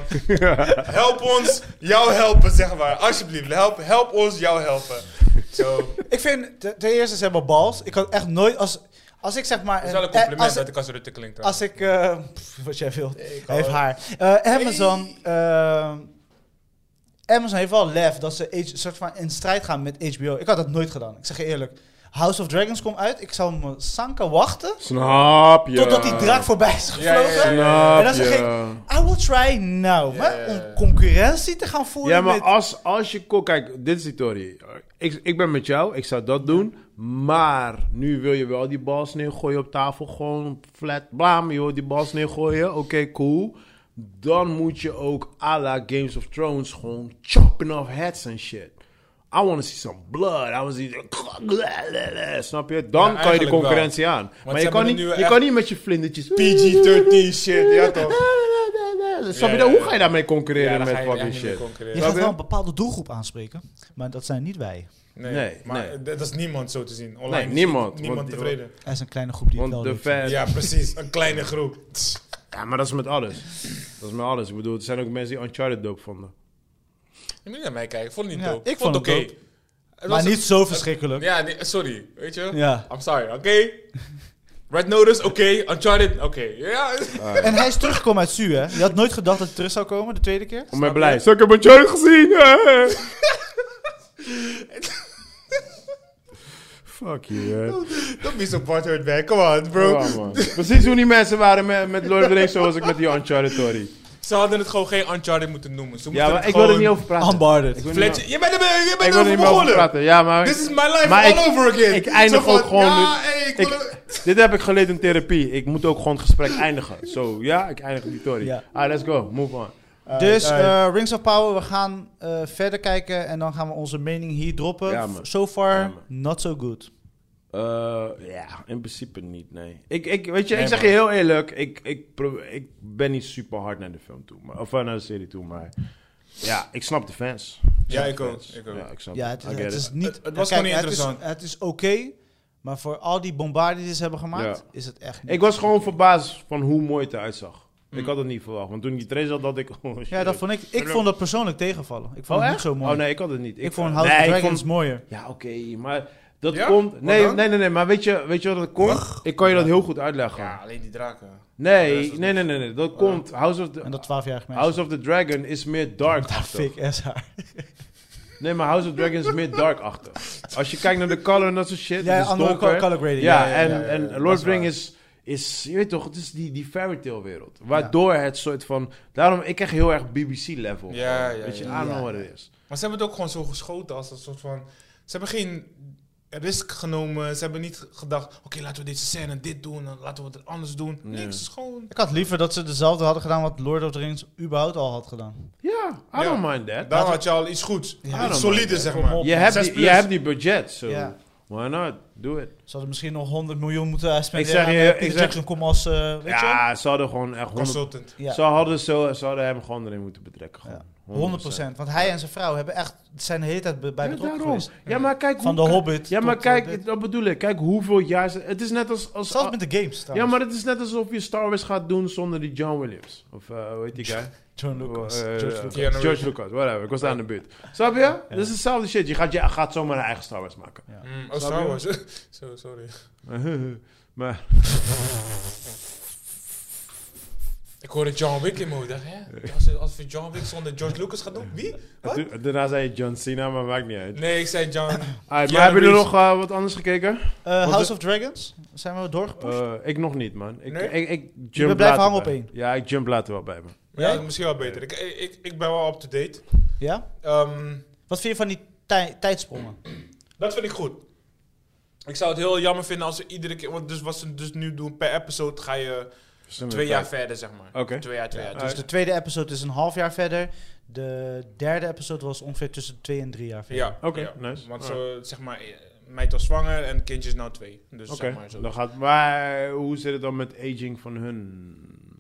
Help ons jou helpen, zeg maar. Alsjeblieft, help, help ons jou helpen. Zo.
Ik vind, te- ten eerste, ze hebben bals. Ik kan echt nooit, als, als ik zeg maar...
Het is wel een
eh,
compliment
als-
dat ik als Rutte klink.
Als ik, eh, pff, wat jij wilt,
hou het.
heeft haar. Eh, Amazon, ehm, Amazon heeft wel lef dat ze H- soort van in strijd gaan met HBO. Ik had dat nooit gedaan, ik zeg je eerlijk. House of Dragons komt uit, ik zou me sanken wachten
Snap je?
totdat die draak voorbij is
Ja, ja,
gevlogen.
ja, ja.
Snap
En dan zeg ik,
je?
I will try now.
ja,
Maar
ja.
om concurrentie te gaan voeren
Ja, maar
met...
als, als je... ko- Kijk, dit is die theorie. Ik, ik ben met jou, ik zou dat doen. Maar nu wil je wel die bal neergooien op tafel. Gewoon flat, blaam, je wil die bal neergooien. Oké, cool. Dan moet je ook à la Games of Thrones gewoon chopping off heads en shit. I want to see some blood. I want to see... <laughs> Snap je? Dan kan je de
eigenlijk wel.
concurrentie aan. Maar
ze
je kan,
hebben
niet,
nu
je
echt-
kan niet met je vlindertjes...
PG-13 shit, ja toch?
<laughs> Snap je
Ja,
dat?
ja,
Hoe
ja.
ga je daarmee concurreren
Ja, dan
met
ga je echt
fucking
niet meer
shit?
concurreren.
je
Snap
gaat
je?
wel een bepaalde doelgroep aanspreken, maar dat zijn niet wij.
Nee,
Nee,
maar
nee.
d- dat is niemand zo te zien. Online
Nee,
is
niemand,
Niemand
want- <laughs>
tevreden.
Er is een kleine groep die het
Want
wel
de
doet.
fans...
Ja, precies. Een kleine groep.
Ja, maar dat is met alles. Dat is met alles. Ik bedoel, er zijn ook mensen die Uncharted dope vonden.
Je moet niet naar mij kijken. Ik vond het niet
Ja,
dope.
ik
vond
vond
het oké.
het dope.
Het
Maar
was-
niet zo verschrikkelijk.
Ja, nee, sorry. Weet je?
Ja.
I'm sorry, oké? Red Notice, oké. Uncharted, oké. Ja. <laughs>
En hij is teruggekomen uit Su, hè? Je had nooit gedacht dat hij terug zou komen, de tweede keer?
Om mij blij. Zo, ik heb Uncharted gezien! hè? <laughs> Fuck you, man.
Don't be so butthard, man. Come on, bro.
Ja, man. Precies hoe die mensen waren met, met Lord of the Rings, zoals ik met die Uncharted Tory.
Ze hadden het gewoon geen Uncharted moeten noemen. Ze
Ja,
moeten
maar
het
ik wil er
gewoon
niet over praten.
Unboarded.
Ik wil er niet
Fletcher, je bent er, je
over- Ik
bent
wil er
erover
niet meer over
begonnen.
praten. Ja, maar...
This is my life
Maar
all
ik-
over again.
ik eindig
Zo van,
ook gewoon
Ja,
nu-
hey, ik wil er-
ik, dit heb ik geleerd in therapie. Ik moet ook gewoon het gesprek eindigen. Zo, ja, ik eindig die Tory.
Ja.
Ah, let's go. Move on.
Dus eh, Rings of Power, we gaan eh, verder kijken en dan gaan we onze mening hier droppen.
Ja, man.
so far,
Ja, man.
not so good.
Eh, ja, in principe niet, nee. Ik, ik, weet je, ik zeg je heel eerlijk, ik, ik, pro- ik ben niet super hard naar de film toe, maar, of eh, naar de serie toe, maar ja, ik snap de fans.
Ja, ik
snap de
ook,
fans.
ik ook.
Ja, ik snap
Ja, het is,
I get
het
it.
is niet...
Het- het was gewoon niet
het is-
interessant.
Het is, oké, maar voor al die bombarden die ze hebben gemaakt,
Ja.
is het echt niet.
Ik was gewoon verbaasd van hoe mooi het eruit zag.
Mm.
Ik had het niet verwacht, want toen ik die trailer zat, dat ik... Oh,
ja, dat vond ik... Ik vond dat persoonlijk tegenvallen. Ik vond het niet zo mooi.
Oh nee, ik had het niet.
Ik vond House
nee,
of
ik
Dragons
vond-
mooier.
Ja, oké, maar dat
Ja?
komt...
Wat
Nee,
dan?
nee, nee, nee, maar weet je, weet je wat dat komt? Ik kan je dat heel goed uitleggen.
Ja, alleen die draken.
Nee, nee, nee, nee, nee, dat
Oh.
komt. House of,
En
the,
dat 12-jarig mensen.
House of the Dragon is meer dark-achtig.
Fake ass haar.
Nee, maar House of Dragons is meer dark-achtig. Als je kijkt naar de color en dat soort shit.
Ja,
het is
andere
donker.
co- color grading,
Ja,
ja, ja,
en,
ja, ja,
en Lord of the Ring is, is, je weet toch, het is die, die fairy tale wereld. Waardoor het soort van, daarom, ik krijg heel erg BBC-level.
Ja, ja,
eh, Weet je,
ja,
I don't
ja.
know what it is.
Maar ze hebben het ook gewoon zo geschoten als een soort van... Ze hebben geen risk genomen. Ze hebben niet gedacht, oké, laten we deze scène dit doen. Dan laten we het anders doen.
Nee.
Niks, is gewoon...
Ik had liever dat ze dezelfde hadden gedaan wat Lord of the Rings überhaupt al had gedaan.
Ja, I
Ja.
don't mind that.
Daar had je al iets goeds.
I don't
Iets solides, zeg maar.
Je hebt,
Zes
die, je
plus.
hebt die budget, so
Ja.
why not? Do it.
Ze hadden misschien nog 100 miljoen moeten spenderen.
Ik zeg je-
aan, eh,
ik
Peter
zeg-
Jackson kom als... eh, weet je?
Ja, ze hadden gewoon echt 100...
Consultant.
Ja.
Ze, hadden zo, ze hadden hem gewoon erin moeten betrekken. Gewoon.
100%. Want hij en zijn vrouw hebben echt, zijn de hele tijd be- bij
Ja,
betrokken
daarom.
geweest.
Ja, maar kijk
Van
hoe-
de Hobbit
Ja, maar
tot, eh,
kijk,
dit.
dat bedoel ik. Kijk hoeveel jaar ze... Het is net als... als
Zelfs met de games
ja,
trouwens.
maar het is net alsof je Star Wars gaat doen zonder die John Williams. Of eh hoe heet die guy?
John Lucas.
Eh,
George
ja.
Lucas.
Keanu
George Lucas, whatever. Ik was daar aan de buurt. Snap je? Dat is hetzelfde shit. Je gaat, je gaat zomaar een eigen Star Wars maken.
Mm, oh, Star Wars. <laughs> Zo, sorry.
maar...
Ik hoorde John Wick in me. Ik dacht, hè? Als, als we John Wick zonder George Lucas gaan doen, wie? Wat?
Toen- Daarna zei je John Cena, maar maakt niet uit.
Nee, ik zei John.
Alright,
Keanu
maar hebben jullie nog
Reeves.
eh, wat anders gekeken?
Eh, House
de-
of Dragons? Zijn we doorgepusht?
Eh, ik nog niet, man. Ik,
Nee?
ik, ik, jump
blijft
later
hangen op
bij.
één.
Ja, ik jump later wel bij me.
Ja, dat is misschien wel beter. Ik, ik, ik ben wel up-to-date.
Eh.
ja?
Ehm,
Wat vind je van die tij- tijdsprongen?
dat vind ik goed. Ik zou het heel jammer vinden als we iedere keer... Want dus wat ze dus nu doen per episode ga je twee jaar verder, zeg maar.
Oké.
Twee jaar, twee jaar. Dus
Dus de tweede episode is een half jaar verder. De derde episode was ongeveer tussen twee en drie jaar verder.
Ja.
dus- Oké,
ja.
nice.
Want zo, zeg maar, eh, meid was zwanger en kindje is nou twee. Dus
Oké,
zeg maar zo.
dan gaat. Maar hoe zit het dan met aging van hun?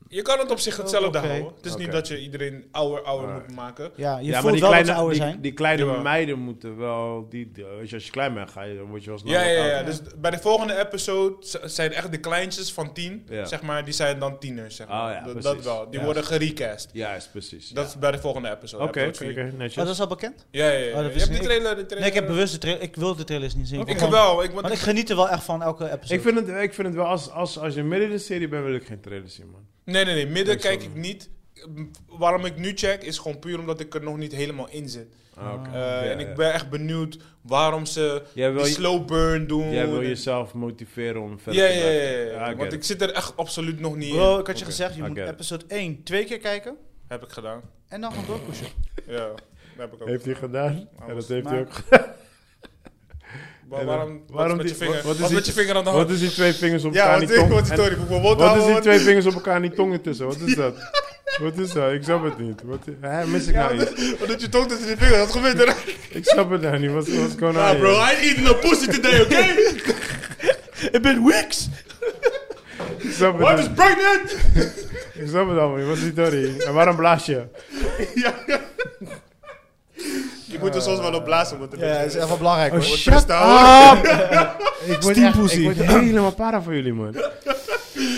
Je kan het op zich hetzelfde
Oké.
houden. Het is niet
Oké.
dat je iedereen ouder, ouder moet maken.
Ja, je
ja,
voelt
die
wel
kleine,
dat ze ouder
die,
zijn.
die kleine
Jawel.
meiden moeten wel. Die, die- weet je, als je klein bent, ga je, dan word je wel snel.
Ja,
wat
ja, ja.
ouder.
Dus bij de volgende episode z- zijn echt de kleintjes van tien,
Ja.
zeg maar, die zijn dan tieners, zeg maar.
Oh ja,
dat, dat
precies.
wel. Die
Ja.
worden gerecast.
Juist, precies.
dus- Dat is bij de volgende episode.
Oké,
episode
oké,
vier.
oké, netjes.
Oh, dat is al bekend?
Ja, ja, ja.
Oh, dat
Je
wist
hebt die
ik niet.
trailer, de
Nee,
trailer...
ik heb bewust de trailer... Ik wil de trailers niet zien.
Ik
vond-
wel. Ik, want
Want ik geniet er wel echt van elke episode.
ik, vind het, ik vind het wel, als, als, als je midden in de serie bent, wil ik geen trailer zien, man.
Nee, nee, nee. Midden
Ik
kijk
zal-
ik niet. M- Waarom ik nu check is gewoon puur omdat ik er nog niet helemaal in zit.
Ah, oké.
Eh,
Ja,
en
ja.
ik ben echt benieuwd waarom ze
Jij wil
die
je-
slow burn doen.
Jij wil
en-
jezelf motiveren om verder
ja,
te
ja, ja,
maken.
ja, ja.
I get
Want
it.
ik zit er echt absoluut nog niet
Bro,
in.
ik had je gezegd, je
I
moet
get it.
episode 1 twee keer kijken.
Heb ik gedaan.
En dan gaan doorpushen.
Ja, dat heb ik ook
Heeft hij
gedaan.
gedaan? Ja, dat heeft hij
maar-
Nou,
ook gedaan.
Wa- waarom
Waarom
waarom met
die-
je vinger?
wat
Wat,
is
is
die-
met je vinger aan de
Wat
hand?
is die twee vingers op
Ja,
elkaar
wat
die tong?
is
en-
sorry, ik moet mijn mond
Wat is
houden.
die
want-
twee vingers op elkaar en die tongen tussen? Wat is dat? Wat is dat? Ik snap het niet. Wat, hè, mis ik nou iets?
<laughs> Wat doet je tong tussen je vinger? Wat gebeurt er? Ah,
Ik snap het <laughs> nou niet. Wat wat is going on
Nah,
here?
bro, I ain't eating no pussy today,
<laughs>
okay?
Ik ben Wix!
Ik snap het
Wife is
nou-
pregnant!
Ik snap het allemaal niet. Wat is die dory? En waarom blaas je?
Je moet er soms wel op blazen, want het
Ja, dat is echt wel belangrijk
Oh,
hoor.
shut
Ik word, echt, ik word helemaal para voor jullie, man.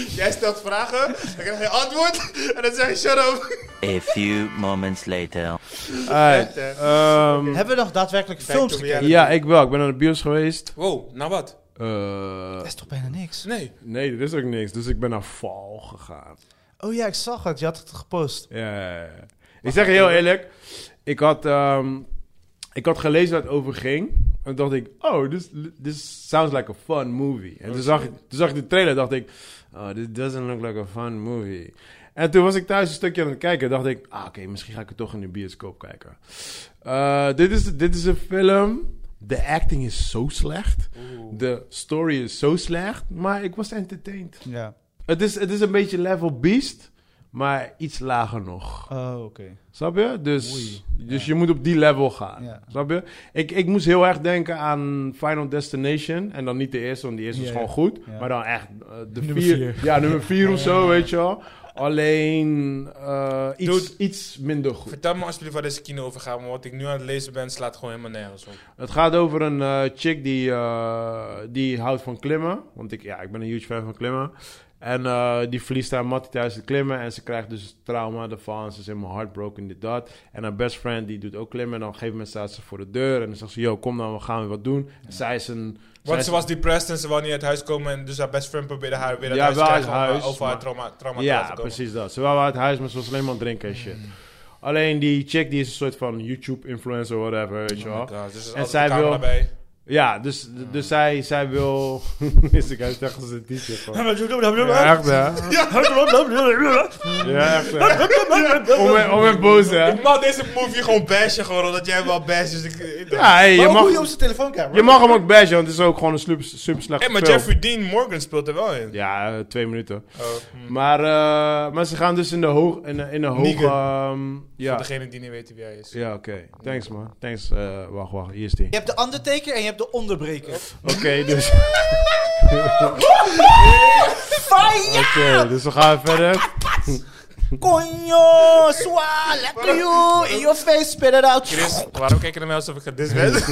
Jij stelt vragen, dan krijg je antwoord en dan zeg je shut up.
A few moments later.
Alright, ehm,
Hebben we nog daadwerkelijk films
to
gekeken?
reality.
ja, ik wel. Ik ben naar de bios geweest.
Wow, nou wat?
Eh,
Dat is toch bijna niks?
Nee.
nee, er is ook niks. Dus ik ben naar Val gegaan.
Oh ja, ik zag het. Je had het gepost.
Ja, ja, ja. Ik zeg je heel eerlijk. Ik had, ehm, ik had gelezen waar het over ging. En dacht ik, oh, this, this sounds like a fun movie. En toen zag, ik, toen zag ik de trailer dacht ik, oh, this doesn't look like a fun movie. En toen was ik thuis een stukje aan het kijken. dacht ik, ah, oké, misschien ga ik het toch in de bioscoop kijken. Eh, dit, is, dit is een film. De acting is zo slecht. De story is zo slecht. Maar ik was entertained.
Ja.
Het is, het is een beetje level beast. Maar iets lager nog.
Oh, oké.
Snap je? Dus, dus je moet op die level gaan.
Ja.
Snap je? Ik, ik moest heel erg denken aan Final Destination. En dan niet de eerste, want die eerste
Ja,
was
ja.
gewoon goed.
Ja.
Maar dan echt eh, de
Nummer
vier,
vier.
Ja, nummer vier of zo, weet je wel. Alleen eh, iets, iets minder goed.
Vertel me alsjeblieft waar deze kino over gaat, want wat ik nu aan het lezen ben slaat gewoon helemaal nergens op.
Het gaat over een eh, chick die, eh, die houdt van klimmen. Want ik, ja, ik ben een huge fan van klimmen. En eh, die verliest haar mattie tijdens het klimmen. En ze krijgt dus trauma ervan. Ze is helemaal heartbroken, dit, dat. En haar best friend, die doet ook klimmen. En dan op een gegeven moment staat ze voor de deur. En dan zegt ze, yo, kom nou, we gaan weer wat doen. En zij is een... zij
Want
is-
ze was depressed en ze wou niet uit huis komen en dus haar best friend probeerde haar weer uit
Ja,
huis te
wel uit
krijgen om,
huis,
eh, over haar
maar-
trauma, trauma te
Ja,
laten komen. Mm.
precies dat. Ze wou uit huis, maar ze was alleen maar aan het drinken en shit. Alleen die chick, die is een soort van YouTube-influencer, whatever, weet je wel.
God, Mm. dus er is
En
altijd
zij
een camera
wil-
bij.
Ja, dus, dus zij, zij wil... <laughs> is ik uit tegen zijn t-shirt van. Ja, <laughs> echt hè?
<laughs>
Ja, echt hè? Om hem, om hem boos hè?
Ik mag deze movie gewoon bashen gewoon, omdat jij hem wel basht. Dus ik, ik
Ja, hey, je,
Maar hoe je op
mag,
zijn telefoon kijkt.
je mag hem ook bashen, want het is ook gewoon een super, super slechte
Hey, maar
film.
Jeffrey Dean Morgan speelt er wel in.
Ja, eh, twee minuten.
Oh, hm.
Maar, eh, maar ze gaan dus in de, hoog, in, de- in de hoge... ehm,
Voor
ja,
degene die niet weet wie hij is.
ja oké. Thanks man. Thanks. eh, wacht, wacht. Hier is die.
Je hebt de undertaker en je hebt de onderbreker.
Oké, dus... <laughs> Oké, dus we gaan verder. Ehm.
Konjo, swa, lekker you, in your face, spit it out.
Chris, nou
<laughs>
waarom kijk je naar mij alsof ik gedist ben?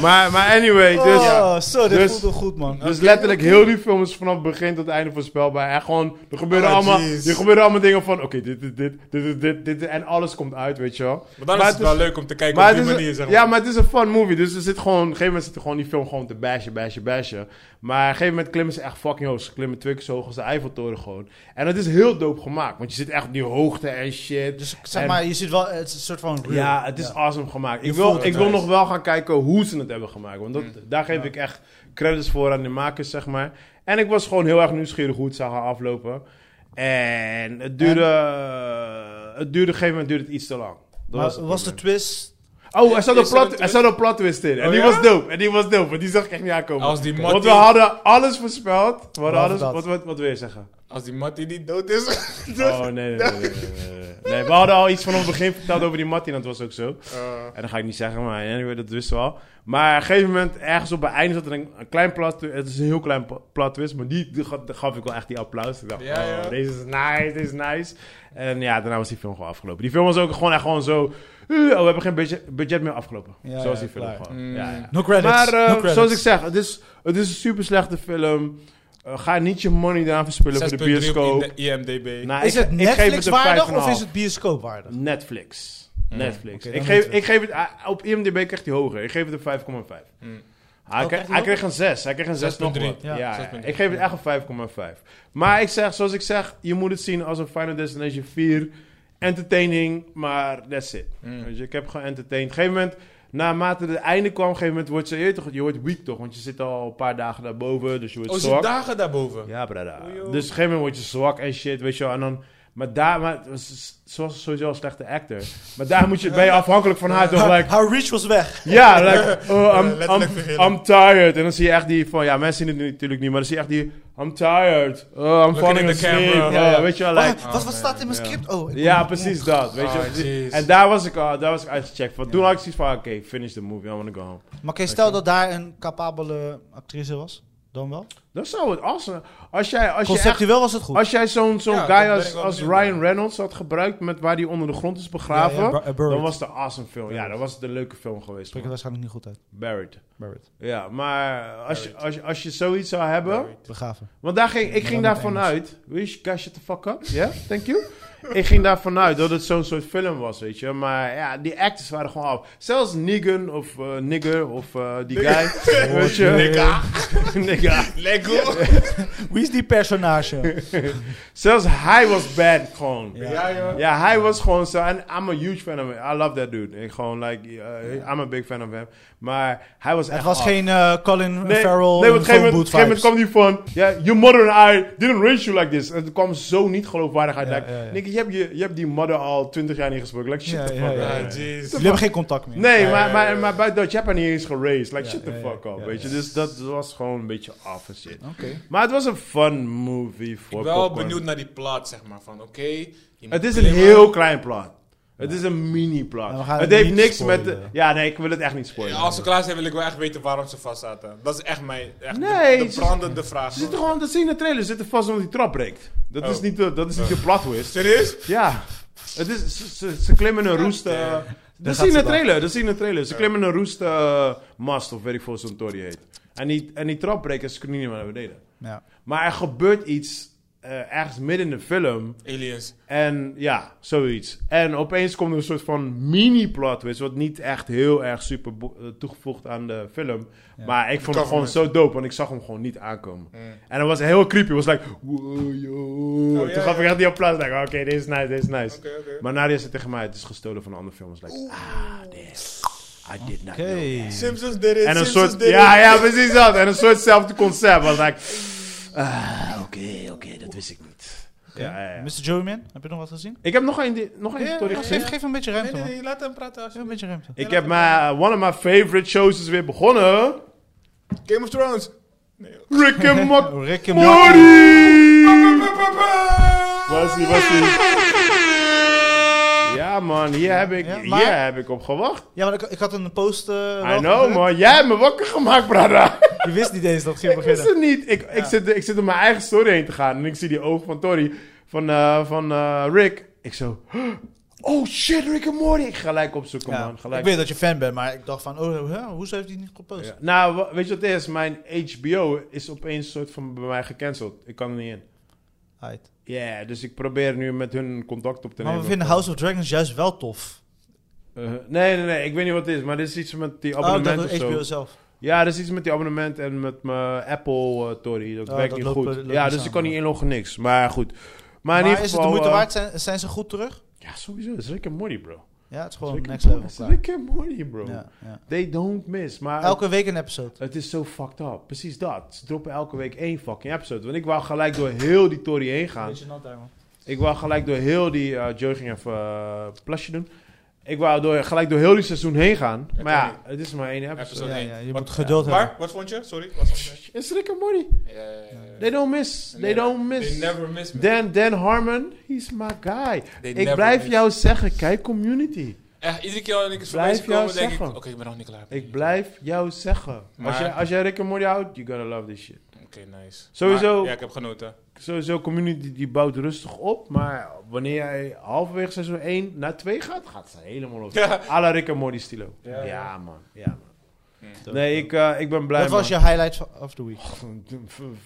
Maar, maar anyway, dus...
oh, zo, dit
Dus-
voelt wel goed, man.
Dus letterlijk heel die film is vanaf begin tot einde voorspelbaar. En gewoon, er gebeuren,
Oh,
allemaal,
jeez.
er gebeuren allemaal dingen van, oké, dit, dit, dit, dit, dit, dit, dit, en alles komt uit, weet je wel.
Maar dan is het wel leuk om te kijken
maar
op die
het is
manier, zeg
een,
maar.
ja, maar het is een fun movie. Dus er zit gewoon, op een gegeven moment zit er gewoon die film gewoon te bashen, bashen, bashen. Maar op een gegeven moment klimmen ze echt fucking hoog. Ze klimmen twee keer zo hoog als de Eiffeltoren gewoon. En dat is heel dope gemaakt. Want je zit echt op die hoogte en shit.
Dus zeg
En-
maar, je ziet wel, het is een soort van... real.
ja, het is awesome gemaakt. Ik
voelt
wil,
het
ik wil
wel.
nog wel gaan kijken hoe ze het hebben gemaakt. Want
Mm.
dat, daar geef ik echt credits voor aan de makers, zeg maar. En ik was gewoon heel erg nieuwsgierig hoe het zou gaan aflopen. En het duurde... Het duurde op een gegeven moment duurde het iets te lang. Dat
Maar
was het
was de
probleem.
twist...
Oh, er zat, een
Is er een
plot, er
twist?
zat een plot twist in. En
Oh,
die
ja?
was dope. En die was dope. Want die zag ik echt niet aankomen.
Als die
Want we
Mattie-
hadden alles voorspeld. We hadden
Behalve
alles,
dat.
wat, wat, wat wil je zeggen?
Als die Mattie niet dood is.
Oh, nee, nee, nee, nee, nee, nee. Nee, we hadden al iets van op het begin verteld over die Mattie. En dat was ook zo.
Eh,
En dat ga ik niet zeggen, maar anyway, dat wisten we al. Maar op een gegeven moment, ergens op het einde zat er een, een klein plat twi- Het is een heel klein pla- plat twist, maar die, die gaf, die gaf ik wel echt die applaus. Ik dacht,
Ja, ja.
oh, deze is nice, deze is nice. En ja, daarna was die film gewoon afgelopen. Die film was ook gewoon echt gewoon zo... eh, oh, we hebben geen budget, budget meer afgelopen.
Ja,
zoals
ja,
die film
klaar.
gewoon. Ja, ja.
No credits.
Maar eh,
no credits.
zoals ik zeg, het is, het is een super slechte film. Eh, ga niet je money daaraan verspillen voor de
6.3 op
bioscoop.
de IMDB.
Nou,
is
ik-
het
ik geef het een
Netflix waardig of
5,5.
is het bioscoop waardig?
Netflix. Netflix.
Oké, dan
ik, geef,
weten we.
ik geef het, ah, op IMDb krijgt hij hoger. Ik geef het een 5,5. Hij, kreeg,
Oh, krijgt hij
hij kreeg een 6. Hij kreeg een 6 nog
6,3.
wat. Ja,
Ja,
ja,
6,3.
ik geef het echt een 5,5. Maar ik zeg, zoals ik zeg, je moet het zien als een Final Destination 4. Entertaining, maar that's it. Weet je, ik heb geëntertained. Op een gegeven moment, naarmate het einde kwam, op een gegeven moment wordt ze, je, weet toch, je wordt weak toch, want je zit al een paar dagen daarboven, dus je wordt
Oh,
zwak.
zit dagen daarboven.
Ja, brada. Dus
Oei,
op
joh.
een gegeven moment word je zwak en shit, weet je wel. En dan, maar daar, maar, ze ze was sowieso een slechte actor. Maar daar moet je,
<laughs>
ben je afhankelijk van haar toch, like...
Haar reach was weg.
Ja, like, oh, I'm,
letterlijk
I'm,
vergeten.
I'm tired. En dan zie je echt die van, ja, mensen zien het natuurlijk niet, maar dan zie je echt die, I'm tired. Oh, I'm falling
at the
asleep.
camera.
Ja, weet je wel, <laughs>
<laughs>
like...
Wat- wat, wat staat in mijn script? Oh, ik-
Ja, precies dat, weet je
Oh,
wel. Dus
jeez.
En daar was ik, al daar was ik uitgecheckt van. Toen had ik zoiets van, oké, finish the movie, I'm gonna go home.
Maar oké, stel dat daar een capabele actrice was, dan wel?
Dan zou het awesome... Als jij, als je echt
Conceptueel was het goed.
Als jij zo'n zo'n
Ja, dat
guy
ben
als,
ik wel
als
benieuwd naar.
Ryan Reynolds had gebruikt met waar hij onder de grond is begraven,
Ja, ja, bur- eh, buried.
dan was het een awesome film. Ja, dan was het een leuke film geweest.
Spreek het
man.
waarschijnlijk niet goed uit.
Buried.
Barrett.
Ja, maar als je, als, je, als je zoiets zou hebben...
Begraven.
Want daar ging, ik ging
dan
daarvan
met
uit... Wish, guys, shut the fuck up. Ja, thank you. <laughs> ik ging daarvan uit dat het zo'n soort film was, weet je. Maar ja, die actors waren gewoon af. Zelfs Negan of eh, Nigger of eh, die guy. weet
<laughs>
je. <laughs>
Nigga.
Nigga.
Lego.
Ah, Wie is die
<laughs>
personage?
Zelfs hij was bad gewoon.
Ja, joh.
Ja, hij was gewoon zo. En I'm a huge fan of him. I love that dude. Ik gewoon, like, eh, I'm a big fan of him. Maar hij was
Het
echt
was
af.
geen eh, Colin
Ah. Nee,
Farrell
nee,
in
want op een gegeven moment- op
phone
een gegeven moment
booth
kwam die van... ja your mother and I didn't raise you like this. En het kwam zo niet geloofwaardig uit.
Ja,
like,
ja, ja.
Nicky, je hebt, je, je hebt die mother al twintig jaar niet gesproken. Like, shit
Ja,
the
ja,
fuck
ja,
up.
ja.
Ah, jeez.
Jullie hebben geen contact meer.
Nee, maar, maar, maar buiten dat, je hebt haar niet eens geraced. Like, shit the
ja, ja,
fuck up,
ja,
weet je.
ja.
Dus dat was gewoon een beetje af en shit.
Oké.
Maar het was een fun movie voor
Ik ben wel
popcorn.
benieuwd naar die plaat, zeg maar. Van oké. je moet
Het is een
klimmen.
heel klein plan. Het is een mini
En we
plan.
gaan
Het
het
heeft
niet
niks met de...
spoilen.
Ja, nee, ik wil het echt niet
Ja,
spoilen.
Als ze klaar zijn, wil ik wel echt weten waarom ze vast zaten. Dat is echt mijn. Echt
Nee,
de, de
ze-
brandende vraag.
Ze zitten gewoon, dat zie je in de trailer, ze zitten vast omdat die trap breekt. Dat is
Oh.
niet de, dat is niet de plot twist.
Serieus?
Ja. Het is, ze, ze, ze klimmen een roest... eh, dat zie je in de trailer, dat zie je in de trailer. Ze klimmen een roest eh, mast, of weet ik veel zo'n tory heet. En die, en die trap breekt en ze kunnen niet meer naar beneden.
Ja.
Maar er gebeurt iets eh, ergens midden in de film...
Aliens.
En ja, zoiets. En opeens komt er een soort van mini-plot twist, wat niet echt heel erg super bo- eh, toegevoegd aan de film. Maar ik vond het gewoon zo dope, want ik zag hem gewoon niet aankomen. En het was heel creepy. Het was like, wow, yo.
Oh, ja,
Toen gaf
ja.
ik echt die applaus. Like, oké, dit is nice, dit is nice.
Oké, oké.
Maar Nadia zei tegen mij, het is gestolen van een andere film. I was like, ah, this. I did not
Oké.
know.
Simpsons did it.
En een
Simpsons
soort,
did it.
ja, ja, precies dat. En een soortzelfde concept. was like, ah, oké, oké, dat wist ik niet. Ja, ja, ja.
Mr. Joeyman, heb je nog wat gezien?
Ik heb nog een, nog een story gezien.
Geef, geef een beetje ruimte, man. Geef
laat hem praten als
een beetje ruimte.
Ik heb mijn, eh, one of my favorite shows is weer begonnen.
Game of Thrones.
Rick
<laughs>
and Morty!
Rick en Morty.
Was ie, was ie. Ja man, hier heb ik,
Ja,
hier
maar-
heb ik op gewacht.
Ja, maar ik, ik had een post... eh,
I
wel
know
gezet.
man, jij hebt me wakker gemaakt
<laughs>
brada.
Je wist niet eens dat het ging
<laughs> Ik wist
beginnen.
het niet. Ik, ik, zit, ik zit om mijn eigen story heen te gaan en ik zie die ogen van Tori, van, eh, van eh, Rick. Ik zo, <gasps> Oh shit, Rick and Morty. Ik ga gelijk opzoeken,
Ja.
man. Gelijk.
Ik weet dat je fan bent, maar ik dacht van, oh, hè, hoezo heeft hij niet gepost?
Ja. Nou, wa- weet je wat het is? Mijn HBO is opeens soort van bij mij gecanceld. Ik kan er niet in.
Aight.
Ja, dus ik probeer nu met hun contact op te
Maar we
nemen.
vinden House of Dragons juist wel tof.
Eh, nee, nee, nee. Ik weet niet wat het is, maar er is iets met die
Oh,
abonnementen
dat
of zo.
HBO zelf.
Ja, er is iets met die abonnement en met mijn Apple eh Tory. Dat
Oh,
werkt
dat
niet
lopen-
goed.
lopen
ja, dus
samen.
ik kan niet inloggen, niks. Maar goed. Maar,
Maar
in ieder geval...
is het de moeite
eh,
waard? Zijn, zijn ze goed terug?
Ja, sowieso. Het is Rick and Morty, bro.
Ja, het is gewoon
Rick and
next
Morty.
level.
Het is
klaar.
Rick and Morty, bro.
Ja, ja.
They don't miss. Maar
Elke week een episode.
Het is zo fucked up. Precies dat. Ze droppen elke week één fucking episode. Want ik wou gelijk door heel die Tory heen gaan. Ik wou gelijk door heel die... eh Joe ging even eh, plasje doen. Ik wou door, gelijk door heel die seizoen heen gaan. maar
kan
ja, het is maar één episode.
Episode
Ja,
één.
ja, je
Wat-
moet geduld hebben.
Maar, wat vond je? Sorry. Wat vond je?
It's Rick and Morty.
Eh,
They don't miss. They
never-
don't miss.
They never miss me.
Dan, Dan Harmon, he's my guy.
They
ik
never
blijf
miss.
jou zeggen, kijk community.
Echt, iedere keer als ik eens
Blijf
voorbij zie komen,
jou
denk ik...
zeggen.
Oké, ik ben nog niet klaar.
Ik blijf jou zeggen. Als,
Maar-
jij, als jij Rick and Morty houdt, you're gonna love this shit.
Oké, nice.
Sowieso-
Maar- ja, ik heb genoten.
Sowieso, community die bouwt rustig op. Maar wanneer jij halverwege seizoen 1 naar 2 gaat, gaat ze helemaal op.
Ja.
A la Rick and Morty stilo. Ja, man. Ja, man. Nee, ik, eh, ik ben blij,
Dat was je highlight van- of the week.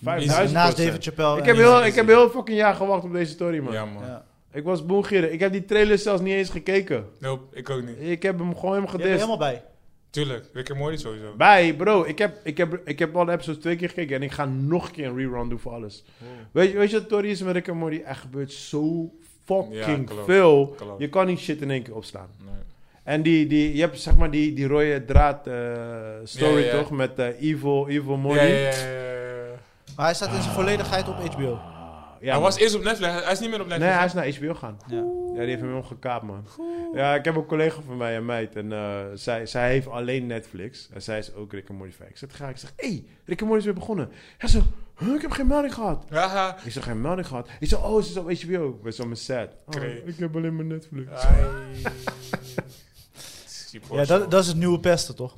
Naast
Naast David Chappelle.
Ik
en-
heb, heel, ik heb heel fucking jaar gewacht op deze story, man.
Ja, man.
Ja.
Ik was boengierig. Ik heb die trailer zelfs niet eens gekeken.
Nope, ik ook niet.
Ik heb hem gewoon helemaal
Je bent er
gedist.
helemaal bij.
Tuurlijk, Rick and Morty sowieso.
Bij, bro, ik heb, ik, heb, ik heb alle episodes twee keer gekeken en ik ga nog een keer een rerun doen voor alles. Weet, je- weet je wat Tori is met Rick en Morty? Er gebeurt zo
Oh. Ja,
fucking
klopt.
veel.
Klopt.
Je kan niet shit in één keer opslaan.
Nee.
En die, die, je hebt zeg maar die, die rode draad eh, story
Ja, ja, ja.
toch? Met eh, Evil, Evil Morty.
Ja, ja, ja, ja, ja.
Maar hij staat in zijn volledigheid op HBO.
Ah, Ja,
hij
man.
was eerst op Netflix, hij is niet meer op
Nee,
Netflix.
hij is naar HBO gaan.
Ja.
Ja, die heeft hem omgekaapt, man. Ja, ik heb een collega van mij, een meid, en eh, zij, zij heeft alleen Netflix. En zij is ook Rick en Morty fan. Ik zeg, ga ik zeg, hé, hey, Rick en Morty is weer begonnen. Hij zegt, huh, ik heb geen melding gehad. <laughs>
Haha.
Ik zeg, geen melding gehad. Ik zeg, oh, ze is op HBO. Ik ben zo mijn set. Oh,
Kreeg.
ik heb alleen mijn Netflix.
Ai.
Ja, dat, dat is het nieuwe pesten, toch?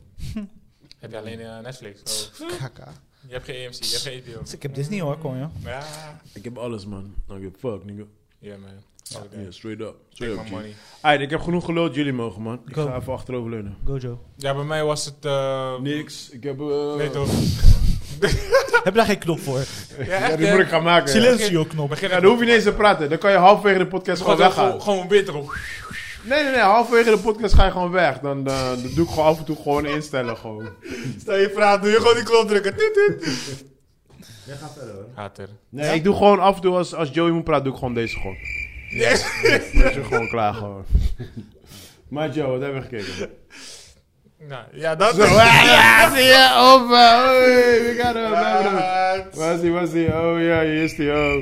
Heb je alleen eh, Netflix? Oh.
Kaka.
Je hebt geen AMC, je hebt geen HBO.
Dus ik heb Disney hoor, kom joh.
Ja,
Ik heb alles, man. Nou, ik fuck, nigga.
Ja, man. Fuck
Yeah,
that.
straight up. Straight
Take
up,
my
G.
money.
Alright, ik heb genoeg geluld. Jullie mogen, man. Ik
Go.
ga even achteroverleunen.
Gojo.
Ja, bij mij was het... eh,
Niks. Ik heb... eh
Nee, toch?
<laughs> heb je daar geen knop voor?
Ja,
<laughs> Ja,
echt,
die moet ik
hè?
gaan maken. ja.
<laughs> Silencio knop.
Begin
Ja, dan hoef je niet eens te praten. Dan kan je halverwege de podcast gewoon
Gewoon,
weggaan.
gewoon, gewoon weer erop.
Nee, nee, nee. Halverwege de podcast ga je gewoon weg. Dan, eh, dan doe ik gewoon af en toe gewoon instellen. Gewoon.
Stel je praat, doe je gewoon die knop drukken. Tuut, tuut.
Hater.
Nee, ik doe gewoon af en toe als, als Joey moet praten, doe ik gewoon deze gewoon. Dan is het gewoon klaar gewoon. <laughs> Maar Joe, wat hebben we gekeken?
<laughs> Nou, ja, dat
ja, zie je? Op, we gaan hem, we hebben hem.
Ah,
Waar is die, waar is die? Oh ja, hier is die, oh.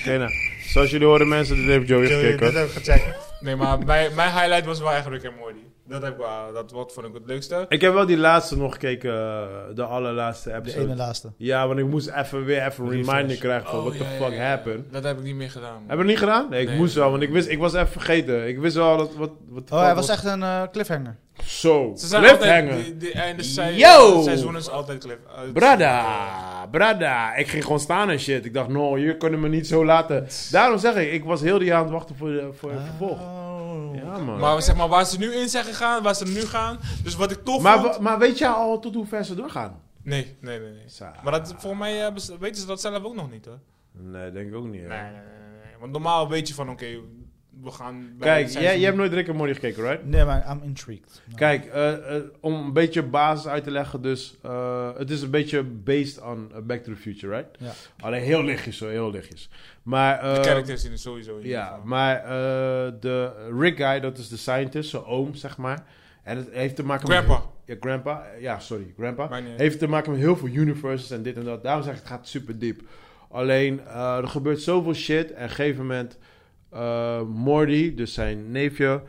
Oké, nou. Zoals jullie horen mensen, dit heeft Joey
Sorry,
gekeken.
dat
hoor.
heb ik gecheckt.
Nee, maar mijn, mijn highlight was wel eigenlijk Rick en Morty. Dat, heb ik wel, dat wat vond ik het leukste.
Ik heb wel die laatste nog gekeken, eh, de allerlaatste
De
episode.
ene laatste.
Ja, want ik moest even weer even een reminder krijgen van what
Oh, ja,
the
ja,
fuck
ja.
happened.
Dat heb ik niet meer gedaan.
Hebben we het niet gedaan? Nee, ik
Nee.
moest wel, want ik, wist, ik was even vergeten. Ik wist wel dat, wat... wat
Oh, hij was echt een eh, cliffhanger.
Zo,
Ze zijn altijd...
cliffhanger.
Die, die einde se-
Yo!
seizoen is altijd cliff. eh,
Brada, brada. Ik ging gewoon staan en shit. Ik dacht, no, jullie kunnen me niet zo laten. Daarom zeg ik, ik was heel die jaar aan het wachten voor, de, voor het vervolg.
Oh.
Ja, man. Maar,
Maar zeg maar, waar ze nu in zijn gegaan, waar ze nu gaan. Dus wat ik tof vond...
wa- maar weet jij al tot hoe ver ze doorgaan?
Nee, nee, nee. nee.
Sa-
Maar dat, volgens mij eh, bes- weten ze dat zelf ook nog niet, hoor.
Nee, denk ik ook niet. hè.
Nee, nee, nee, nee. eh, Want normaal weet je van, oké, we gaan... bij
Kijk, jij,
het seizoen-
jij hebt nooit Rick en Morty gekeken, right?
Nee, maar I'm intrigued. Nou.
Kijk, eh, eh, om een beetje basis uit te leggen, dus eh, het is een beetje based on eh, Back to the Future, right?
Ja.
Alleen heel lichtjes, zo, heel lichtjes. Maar,
De
eh,
characters zien er sowieso in.
ja, maar eh, de Rick guy, dat is de scientist, zijn oom, zeg maar. En het heeft te maken met...
Grandpa.
Ja, grandpa. Eh, Ja, sorry, grandpa.
Maakt niet uit.
Heeft te maken met heel veel universes en dit en dat. Daarom zeg ik, het gaat super diep. Alleen, eh, er gebeurt zoveel shit. En op een gegeven moment, eh, Morty, dus zijn neefje,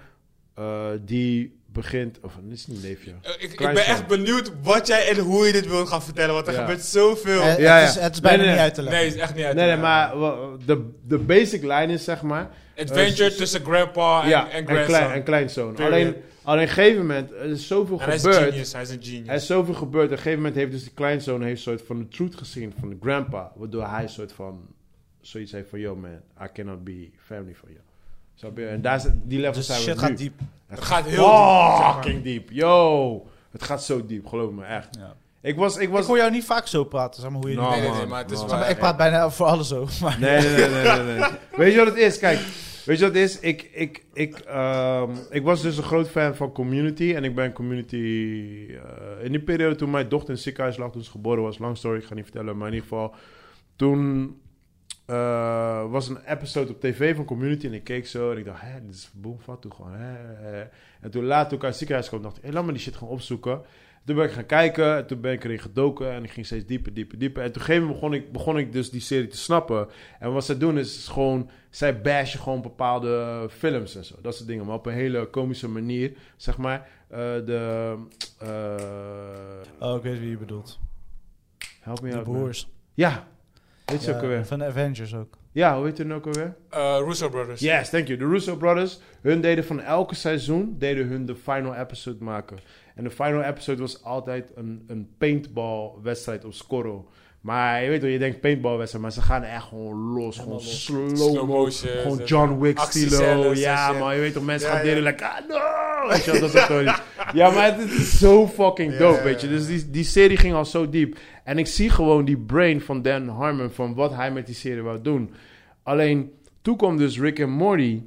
eh, die begint... Of, het is niet een neefje.
Eh, Ik, ik
Klein
ben
zoon.
echt... be-
Benieuwd wat jij en hoe je dit wilt gaan vertellen, want er
Ja.
gebeurt zoveel.
Eh,
ja, ja.
Het, is, het is bijna
Nee, nee,
niet uit te leggen.
Nee, is echt niet uit.
Nee,
te
nee, maar wel, de, de basic line is, zeg maar... eh,
Adventure tussen grandpa en,
ja,
en
en,
grandson.
klein, en kleinzoon.
Period.
Alleen, alleen op een gegeven moment, er is zoveel
En hij is een
gebeurd...
genius, hij is een
Er is
genius.
zoveel gebeurd. Op een gegeven moment heeft dus die kleinzoon heeft een soort van de truth gezien van de grandpa. Waardoor hij een soort van zoiets heeft van, yo man, I cannot be family for you. Snap je? En daar, is- die level
Dus
zijn we
shit
nu.
gaat diep.
Het gaat heel diep, zeg maar.
Fucking diep. Yo, het gaat zo diep, geloof me, echt.
Ja.
Ik was, ik
Ik
was...
hoor jou niet vaak zo praten, zeg maar, hoe je
Nou,
nu-
Nee, nee, nee,
man,
maar het is
man.
Zeg maar,
waar.
ik praat bijna voor alles zo. Maar
Nee, nee, nee, nee, nee, nee. Weet je wat het is? Kijk, weet je wat het is? Ik, ik, ik, ehm, ik was dus een groot fan van Community. En ik ben Community... eh, in die periode toen mijn dochter in het ziekenhuis lag, toen ze geboren was. Lang story, ik ga niet vertellen. Maar in ieder geval, toen eh, was een episode op tv van Community. En ik keek zo en ik dacht, hè, dit is boem, wat toen gewoon. Hè, hè. En toen later, toen ik uit het ziekenhuis kwam, dacht ik, hé, laat me die shit gewoon opzoeken. Toen ben ik gaan kijken, en toen ben ik erin gedoken en ik ging steeds dieper, dieper, dieper. En toen op een gegeven moment begon ik, begon ik dus die serie te snappen. En wat zij doen is, is gewoon, zij bashen gewoon bepaalde films en zo. Dat soort dingen, maar op een hele komische manier, zeg maar. Eh, de, eh,
Oh, ik weet wie je bedoelt.
help me
De
out. man.
broers.
Ja, weet je
Ja,
ook alweer.
Van de Avengers ook.
Ja, hoe heet het ook alweer?
Eh, Russo Brothers.
Yes, thank you. De Russo Brothers, hun deden van elke seizoen deden hun de final episode maken. En de final episode was altijd een, een paintball-wedstrijd op Scorro. Maar je weet wel, je denkt paintball-wedstrijd, maar ze gaan echt gewoon los. Gewoon slow,
Slow
mo,
motion,
Gewoon
eh,
John Wick stilo.
actiescènes,
Ja,
eh,
maar je weet toch, mensen
Ja,
gaan
ja.
delen, like, ah, no! Weet je wel, dat soort stories. Ja, maar het is zo fucking dope,
ja,
weet je.
ja.
Dus die, die serie ging al zo diep. En ik zie gewoon die brain van Dan Harmon, van wat hij met die serie wou doen. Alleen, toen kwam dus Rick en Morty.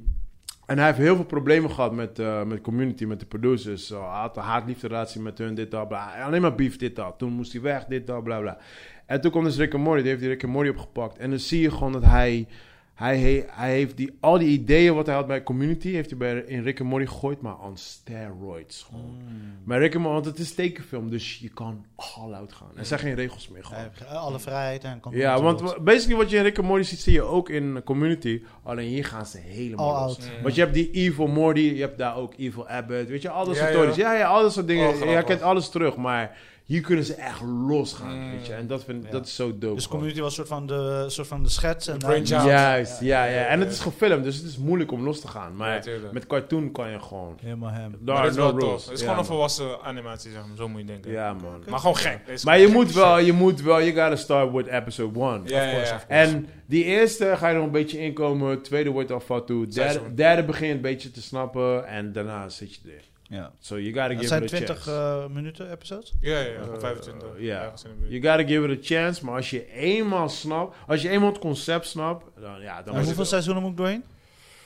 En hij heeft heel veel problemen gehad met, eh met community, met de producers. Zo, hij had een haatliefderelatie met hun, dit, dat, bla. Alleen maar beef, dit, dat. Toen moest hij weg, dit, dat, bla, bla. En toen kwam dus Rick en Morty, die heeft die Rick en Morty opgepakt. En dan zie je gewoon dat hij... Hij, he- hij heeft die, al die ideeën wat hij had bij Community, heeft hij bij, in Rick en Morty gegooid, maar on steroids gewoon.
Hmm.
Maar Rick en Morty, want het is tekenfilm, dus je kan all-out gaan. Er zijn geen regels meer gewoon.
Alle vrijheid en
Ja, want wa- basically wat je in Rick and Morty ziet, zie je ook in Community. Alleen hier gaan ze helemaal
All
los.
out.
Want je hebt die Evil Morty, je hebt daar ook Evil Abbott. Weet je, al dat
Ja,
soort
ja.
stories. Ja, ja, al dat soort dingen.
Oh, grappig.
je kent alles terug, maar hier kunnen ze echt losgaan, weet je. En dat, vind, dat is zo dope.
Dus
gewoon.
community was soort van de, soort van de schets. En
brain
dan-
child.
Juist, ja, ja. En het is gefilmd, dus het is moeilijk om los te gaan. Maar
Ja, tuurlijk.
met cartoon kan je gewoon...
Helemaal hem.
Daar,
Maar dat is
nou, no
wel tof.
rules.
Het is
Ja,
gewoon een
man.
volwassen animatie, zeg maar. Zo moet je denken.
Ja, man.
Maar gewoon gek. Dit is
Maar je
gewoon
moet
gek
wel, je moet wel, you gotta start with episode 1.
shit. Ja, ja, ja.
En die eerste ga je nog een beetje inkomen. Tweede wordt al fat toe. Derde,
Seizoen.
derde begin een beetje te snappen. En daarna zit je er.
Ja.
So you gotta give
Het zijn
it a
20
chance.
eh, minuten episodes.
Ja, ja, ja. gewoon 25.
Eh, ja.
ergens in de buurt.
You gotta give it a chance. Maar als je eenmaal snapt, als je eenmaal het concept snapt, dan ja, dan
En
is
hoeveel
het-
seizoenen moet ik doorheen?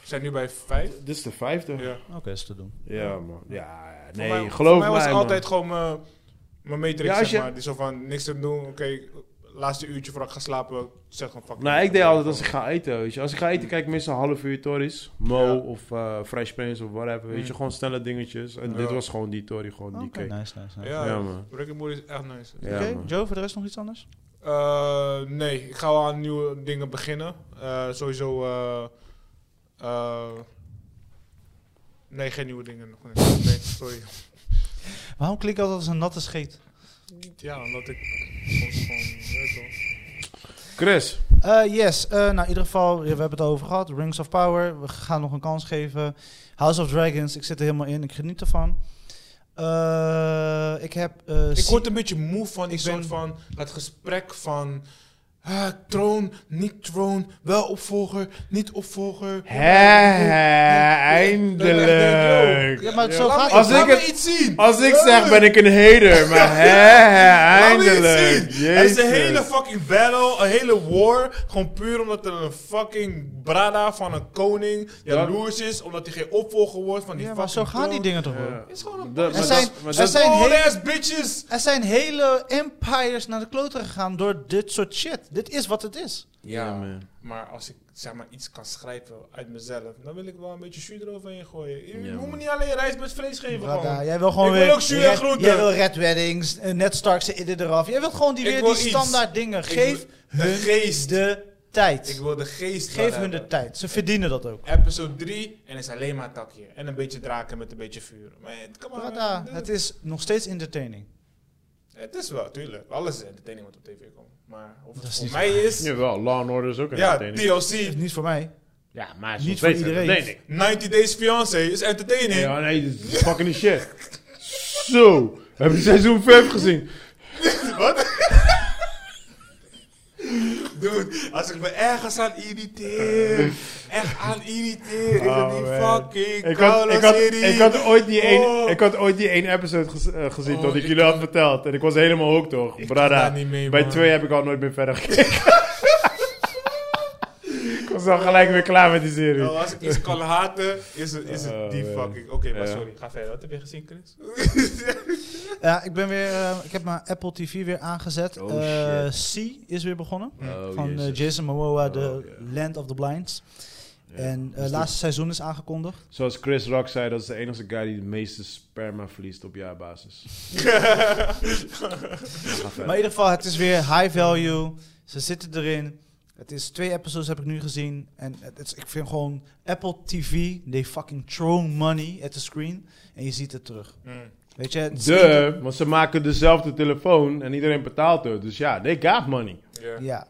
We zijn nu bij 5.
Dit is de vijfde. Ja,
Ja.
Oké, is te doen.
man. Ja, ja.
Voor
nee,
mij,
geloof
voor mij was
mij,
het
man.
altijd gewoon mijn, mijn matrix,
Ja, als
zeg
je-
maar. Die zo van, niks te doen, oké, laatste uurtje voordat ik ga slapen, zeg gewoon fuck.
Nou, ik deed altijd als ik ga eten, weet je. Als ik ga eten, kijk ik meestal een half uur Tories. Mo
Ja. Mm.
of eh, Fresh Prince of whatever, weet je. Gewoon snelle dingetjes. En
Ja.
dit was gewoon die Tory, gewoon die
Oké,
cake.
nice, nice, nice.
Ja,
Ja,
ja
man.
Rick and Morty is echt nice.
Ja,
Oké,
man.
Joe, voor de rest nog iets anders?
Eh, nee, ik ga wel aan nieuwe dingen beginnen. Eh, sowieso, eh, eh, nee, geen nieuwe dingen. nog. Nee, nee, sorry.
Waarom klinkt ik altijd als een natte scheet?
Ja, omdat ik soms gewoon, je weet toch.
Chris,
Eh, yes, eh, nou in ieder geval, ja, we hebben het over gehad. Rings of Power, we gaan nog een kans geven. House of Dragons, ik zit er helemaal in, ik geniet ervan. Eh, ik heb... eh,
Ik
Se-
word een beetje moe van die
Ik
soort
ben-
van dat gesprek van ah, troon, niet troon, wel opvolger, niet opvolger.
Hè,
eindelijk.
eindelijk.
Ja, maar zo
Laat
gaat
me-
het.
Als
laat
ik
me
het-
iets zien.
Als ik zeg, ben ik een hater. Maar hè, hè,
Laat me iets
eindelijk.
zien. Het is een
Jezus.
hele fucking battle, een hele war. Gewoon puur omdat er een fucking brada van een koning jaloers is. Omdat hij geen opvolger wordt van die
Ja, maar
fucking
zo gaan die
troon.
dingen toch wel.
Het is gewoon een
Dat-
Er
maar
zijn,
dat- maar
er,
dat-
zijn
old
hele,
ass bitches.
er zijn hele empires naar de kloten gegaan door dit soort shit. Dit is wat het is.
Ja, man.
Maar als ik zeg maar iets kan schrijven uit mezelf, dan wil ik wel een beetje zuur eroverheen gooien. Je
Ja,
moet me
man.
niet alleen rijst met vlees geven.
Brada,
gewoon.
jij wil gewoon
ik
weer...
wil ook zuur en
Red-
groente.
Jij wil Red Weddings, eh, Ned Stark ze dit eraf. Jij wilt gewoon die,
Ik
weer
wil
die
iets.
standaard dingen.
Ik
Geef
wil- de
hun
geest.
de tijd.
Ik wil de geest
Geef
wel
hun de
hebben.
tijd. Ze verdienen dat ook.
Episode 3 en het is alleen maar takje. En een beetje draken met een beetje vuur. Maar het, kan maar,
Brada,
eh,
het is nog steeds entertaining.
het is wel, tuurlijk. Alles is entertaining wat op tv komt. Maar of
Dat
het
is
voor
niet
mij is...
Jawel, Law and Order is ook een
Ja,
entertaining.
TLC.
Niet voor mij.
Ja, maar het is
Niet
nog
voor
steeds
iedereen.
entertaining.
90 Days Fiancé is entertaining.
Ja, nee, dit is fucking shit. Zo, heb je seizoen 5 gezien?
Dude, als ik me ergens aan irriteer, echt aan irriteer, is het
Oh,
die
man.
fucking
Ik had, ik, had,
Call-serie.
ik, had ooit die één,
Oh.
ik had ooit die één episode gez- eh, gezien
Oh,
dat ik
ik
jullie had verteld. En ik was helemaal hooked, toch? Brada.
daar niet mee,
Bij
man.
twee heb ik al nooit meer verder gekeken. <laughs> ik was al gelijk weer klaar met die serie.
Oh.
Nou, als ik iets kan haten, is het, is het
Oh,
die
man.
fucking... Oké, maar
Ja.
sorry, ga verder. Wat heb je gezien,
<laughs>
Chris?
Ja, ik ben weer. eh, ik heb mijn Apple TV weer aangezet.
Oh,
Eh, C is weer begonnen. van eh, Jason Momoa,
Oh,
The
ja.
Land of the Blinds. En het
Is dit-
laatste seizoen is aangekondigd.
Zoals Chris Rock zei, dat is de enige guy die de meeste sperma verliest op jaarbasis. Ga verder.
Maar in ieder geval, het is weer high value. Ze zitten erin. Het is twee episodes heb ik nu gezien. En het is, ik vind gewoon Apple TV, they fucking throw money at the screen. En je ziet het terug.
Hmm,
Weet je? het is ieder-
Duh, want ze maken dezelfde telefoon en iedereen betaalt het. Dus ja, they got money.
Ja.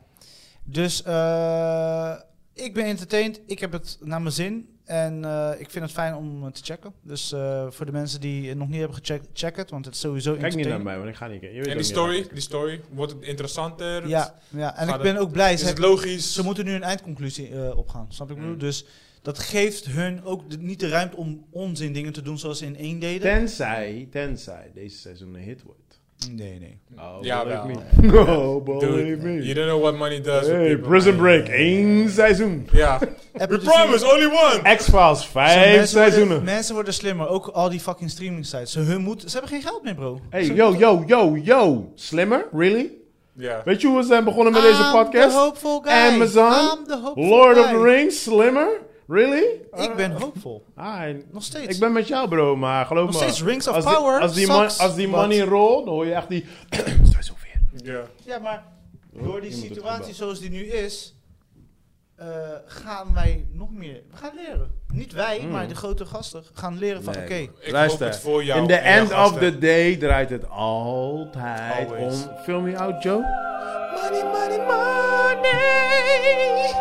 Dus eh, ik ben entertained. Ik heb het naar mijn zin. En eh, ik vind het fijn om eh, te checken. Dus eh, voor de mensen die het nog niet hebben gecheckt, check het. Want het is sowieso
Kijk niet naar
entertaining.
mij, want ik ga niet kijken. Je weet
En
ook
die
niet
story, die story, wordt het interessanter?
Ja, ja, en
Gaat
ik ben
het-
ook blij.
Is
Ze,
het logisch?
ze moeten nu een eindconclusie eh, opgaan. Snap je wat ik
Mm.
bedoel? Dus dat geeft hun ook de- niet de ruimte om onzin dingen te doen zoals ze in één deden.
Tenzij, tenzij deze seizoen een hit wordt.
Nee, nee.
Oh,
Ja,
believe
wel.
me. <laughs> No, believe
Dude,
me.
you don't know what money does with
Hey,
people,
Prison
man.
Break, één seizoen.
Ja.
Apple
We
TV
promise, only one!
X-Files,
Zo,
vijf
Worden,
seizoenen.
mensen worden slimmer. Ook al die fucking streaming sites. Ze, hun moet, ze hebben geen geld meer, bro.
Hey, yo, yo, yo, yo. Slimmer? Really?
Ja.
Weet je hoe we zijn begonnen met deze
I'm
podcast?
the hopeful guy.
Amazon,
I'm the hopeful
Lord of
guy.
the Rings, Slimmer? Really?
Ik ben hoopvol.
Ah,
Nog steeds.
Ik ben met jou, bro, maar geloof
Nog
me.
steeds Rings of
als die-
Power
als die,
sucks,
man- als die
but-
money roll, dan hoor je echt die... Seizoen weer.
Ja.
Ja, maar door die
iemand heeft
situatie
gebeld.
zoals die nu is, eh, gaan wij nog meer. We gaan leren. Niet wij, maar de grote gasten gaan leren van
Hmm. Nee,
oké.
Ik
Luister,
hoop het voor jou
in the
en jouw
end of
gasten.
the day draait het altijd
Always.
om... Film me out, Joe.
Money, money, money.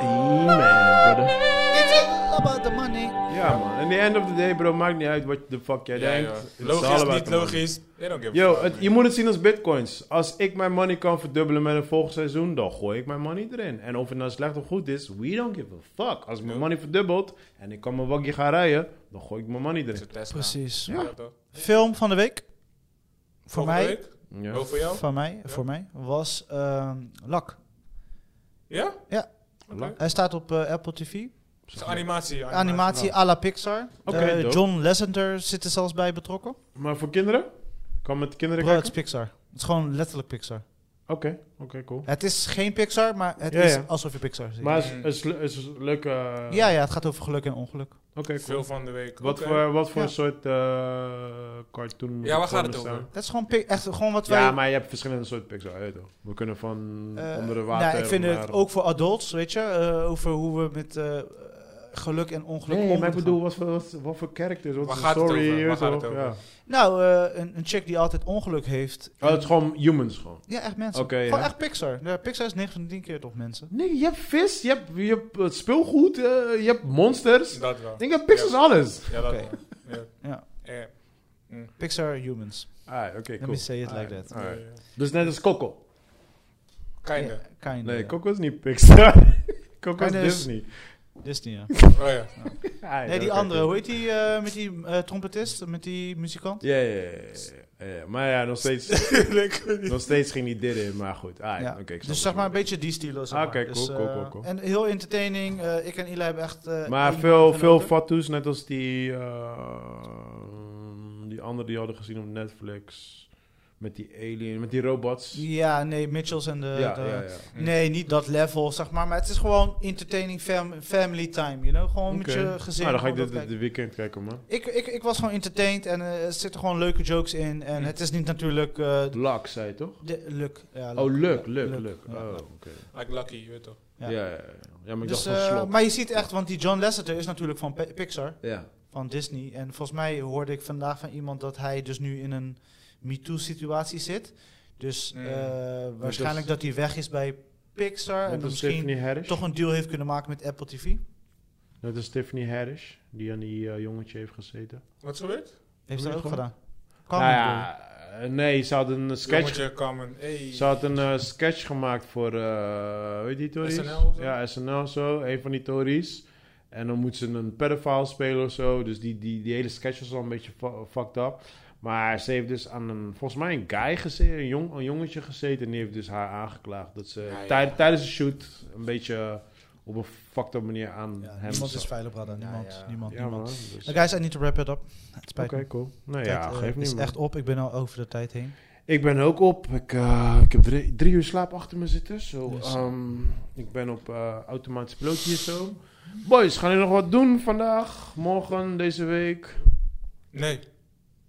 Amen, brother.
It's all about the money.
Ja, man. In the end of the day, bro, maakt niet uit wat de fuck jij
Ja,
denkt.
ja.
Het is all
Logisch,
about
niet
the money.
logisch. They don't give a
Yo,
fuck,
het-
man.
je moet het zien als bitcoins. Als ik mijn money kan verdubbelen met een volgend seizoen, dan gooi ik mijn money erin. En of het nou slecht of goed is, we don't give a fuck. Als mijn money verdubbelt en ik kan mijn waggie gaan rijden, dan gooi ik mijn money
Het is
erin.
een Tesla.
Precies.
Ja, toch?
Film van de week. Voor
Volgende
mij,
week?
Ja.
Ook voor jou?
van mij, voor mij was ehm, Lak.
Ja?
Ja.
Oké.
Hij staat op eh, Apple TV.
Het is animatie.
Animatie à la Pixar.
Oké,
Eh,
dope.
John Lasseter zit er zelfs bij betrokken.
Maar voor kinderen? Kan met kinderen
Bro, het is
kijken?
Pixar. Het is gewoon letterlijk Pixar.
Oké, oké, cool.
Het is geen Pixar, maar het
Ja,
is
ja.
alsof je Pixar ziet.
Maar het is,
Mm.
is, is, leuk... eh,
ja, ja, het gaat over geluk en ongeluk.
Oké, cool.
Veel van de week.
Wat
Oké.
voor, wat voor
Ja.
soort eh, cartoon...
Ja, waar gaat het
staan?
over?
Dat is gewoon, pi- echt, gewoon wat wij...
Ja, maar je hebt verschillende soorten Pixar. weet je wel. We kunnen van
eh,
onder de
nou,
water...
ik vind het
naar-
ook voor adults, weet je, eh, over hoe we met eh, geluk en ongeluk
Nee,
om
maar ik
moeten
bedoel, wat voor, wat, wat voor characters, wat
Waar
voor
gaat het
story...
over?
je
Waar
weet
gaat het
toch,
over?
ja.
gaan. Nou, eh, een, een chick die altijd ongeluk heeft. eh,
Oh, het is gewoon humans gewoon.
Ja, echt mensen.
Oké,
gewoon
ja.
echt Pixar. Ja, Pixar is 9 van de 10 keer toch mensen.
Nee, je hebt vis, je hebt, je hebt eh, speelgoed, eh, je hebt monsters.
Dat wel.
Ik denk dat Pixar is alles.
Ja, dat
Oké.
wel.
Ja.
Ja. Eh, Ja.
Pixar Humans.
Ah, oké,
Let
cool.
me say it like that.
Alright. Dus net als Coco.
Kinda.
Ja, kinda,
Nee,
ja.
Coco is niet Pixar. <laughs> Coco is
Kinda is-
Disney.
Disney, ja.
Oh ja.
Ah,
dus- Nee, die
oké,
andere,
cool.
hoe heet die eh, met die eh, trompetist, met die muzikant?
Ja, ja, ja, ja, ja, ja. Maar ja, nog steeds, nog steeds ging hij dit in, maar goed. Ah,
Ja.
oké. ik snap
dus
het.
zeg maar een beetje die stilo. Zeg
Ah,
maar.
oké, cool,
Dus,
cool,
eh,
cool, cool.
En heel entertaining. eh, ik en Eli hebben echt... eh,
Maar
één
veel,
genoten.
veel fatsoes, net als die, eh, die andere die hadden gezien op Netflix. Met die alien, met die robots.
Ja, nee, Mitchells en de...
ja,
de-
ja, Hm. ja.
Nee, niet dat level, zeg maar. Maar het is gewoon entertaining fam- family time, you know? Gewoon met
Oké.
je gezin.
Nou, dan ga ik
gewoon
dit
dat
dit dit weekend kijken, man.
kijken. ik, ik, ik was gewoon entertained en eh, er zitten gewoon leuke jokes in. En
Hm.
het is niet natuurlijk... eh
Lak, zei je toch?
de, luk. Ja,
Oh, leuk,
Ja,
leuk, leuk.
ja.
Oh, oké.
Like Lucky, je weet toch.
Ja,
Ja.
ja, ja. Ja, maar ik
Dus,
dacht van
eh,
slot.
maar je ziet echt, want die John Lasseter is natuurlijk van Pi- Pixar.
Ja.
van Disney. En volgens mij hoorde ik vandaag van iemand dat hij dus nu in een MeToo-situatie zit. Dus
Mm.
eh,
dus-
waarschijnlijk dat hij weg is bij Pixar.
Net
En dan
als
misschien
Tiffany Harris.
toch een deal heeft kunnen maken met Apple TV.
Net als Tiffany Harris, die aan die eh, jongetje heeft gezeten.
Wat is gebeurd?
Heeft
je
hij ook
gewoon?
gedaan. Kan
Nou
niet,
ja, Eh, nee, ze had een sketch,
Jongetje kwam en... Hey.
ze had een eh, sketch gemaakt voor, eh weet je die Tories?
SNL of zo?
Ja, SNL zo, een van die Tories. En dan moet ze een pedophile spelen of zo. Dus die, die, die hele sketch was al een beetje fu- fucked up. Maar ze heeft dus aan een, volgens mij een guy gezeten, een, jong, een jongetje gezeten. En die heeft dus haar aangeklaagd dat ze
ja.
tij- tijdens de shoot een beetje op een fucked up manier aan
Ja,
hem
niemand
zat.
is veilig, brother.
Ja,
Niemand,
ja.
niemand,
Ja, man.
niemand.
dus-
Nou, guys, I need to wrap it up. Het spijt
Oké,
me.
cool. Nou
Tijd,
ja,
eh,
geef niet,
is
man.
echt op. Ik ben al over de tijd heen.
Ik ben ook op. Ik, eh, ik heb drie, drie uur slaap achter me zitten. Zo,
Yes.
ehm, ik ben op eh automatisch pilootje en zo. Boys, gaan jullie nog wat doen vandaag, morgen, deze week?
Nee.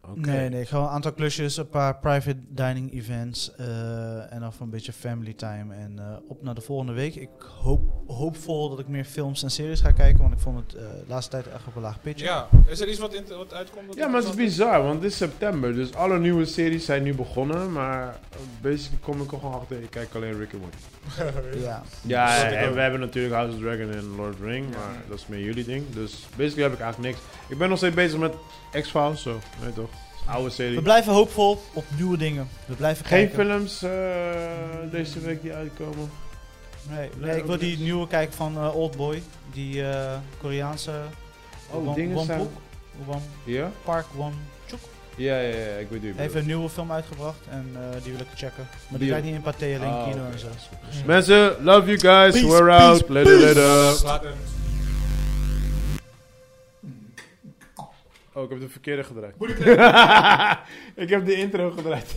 Oké.
Nee, nee. Gewoon een aantal klusjes, een paar private dining events eh, en dan een beetje family time. En eh, op naar de volgende week. Ik hoop hoopvol dat ik meer films en series ga kijken, want ik vond het eh, de laatste tijd echt op een laag pitje.
Ja, is er iets wat, in, wat uitkomt? dat
Ja, maar het is
interessant
bizar, want het is september. Dus alle nieuwe series zijn nu begonnen. Maar basically kom ik er gewoon achter. Ik kijk alleen Rick and Morty.
Ja.
Ja,
snap ik
en
ook.
we hebben natuurlijk House of Dragon en Lord of the Ring. Maar dat is meer jullie ding. Dus basically heb ik eigenlijk niks. Ik ben nog steeds bezig met X-Files. Zo, nee toch? Oude serie.
We blijven hoopvol op nieuwe dingen. We blijven
Geen
kijken.
films eh, deze week die uitkomen.
Nee, nee, ik wil die nieuwe kijken van eh, Oldboy, die eh, Koreaanse.
Oh,
Won-
dingen
Won
zijn-
Wook, Won-
Ja?
Park Won-chuk.
Ja, ja, ja, ik weet niet.
Hij heeft een nieuwe film uitgebracht en eh, die wil ik checken. Maar die
Deal.
rijdt niet in Pathé, alleen
Ah,
kino
oké.
en zo.
Mensen, love you guys.
Peace,
We're
peace,
out. Later,
is.
later.
Laat <laughs> een-
Oh, ik heb de verkeerde gedraaid. <laughs> ik heb de intro gedraaid.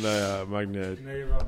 nou ja, maakt niet uit.
Ah, Nee, man.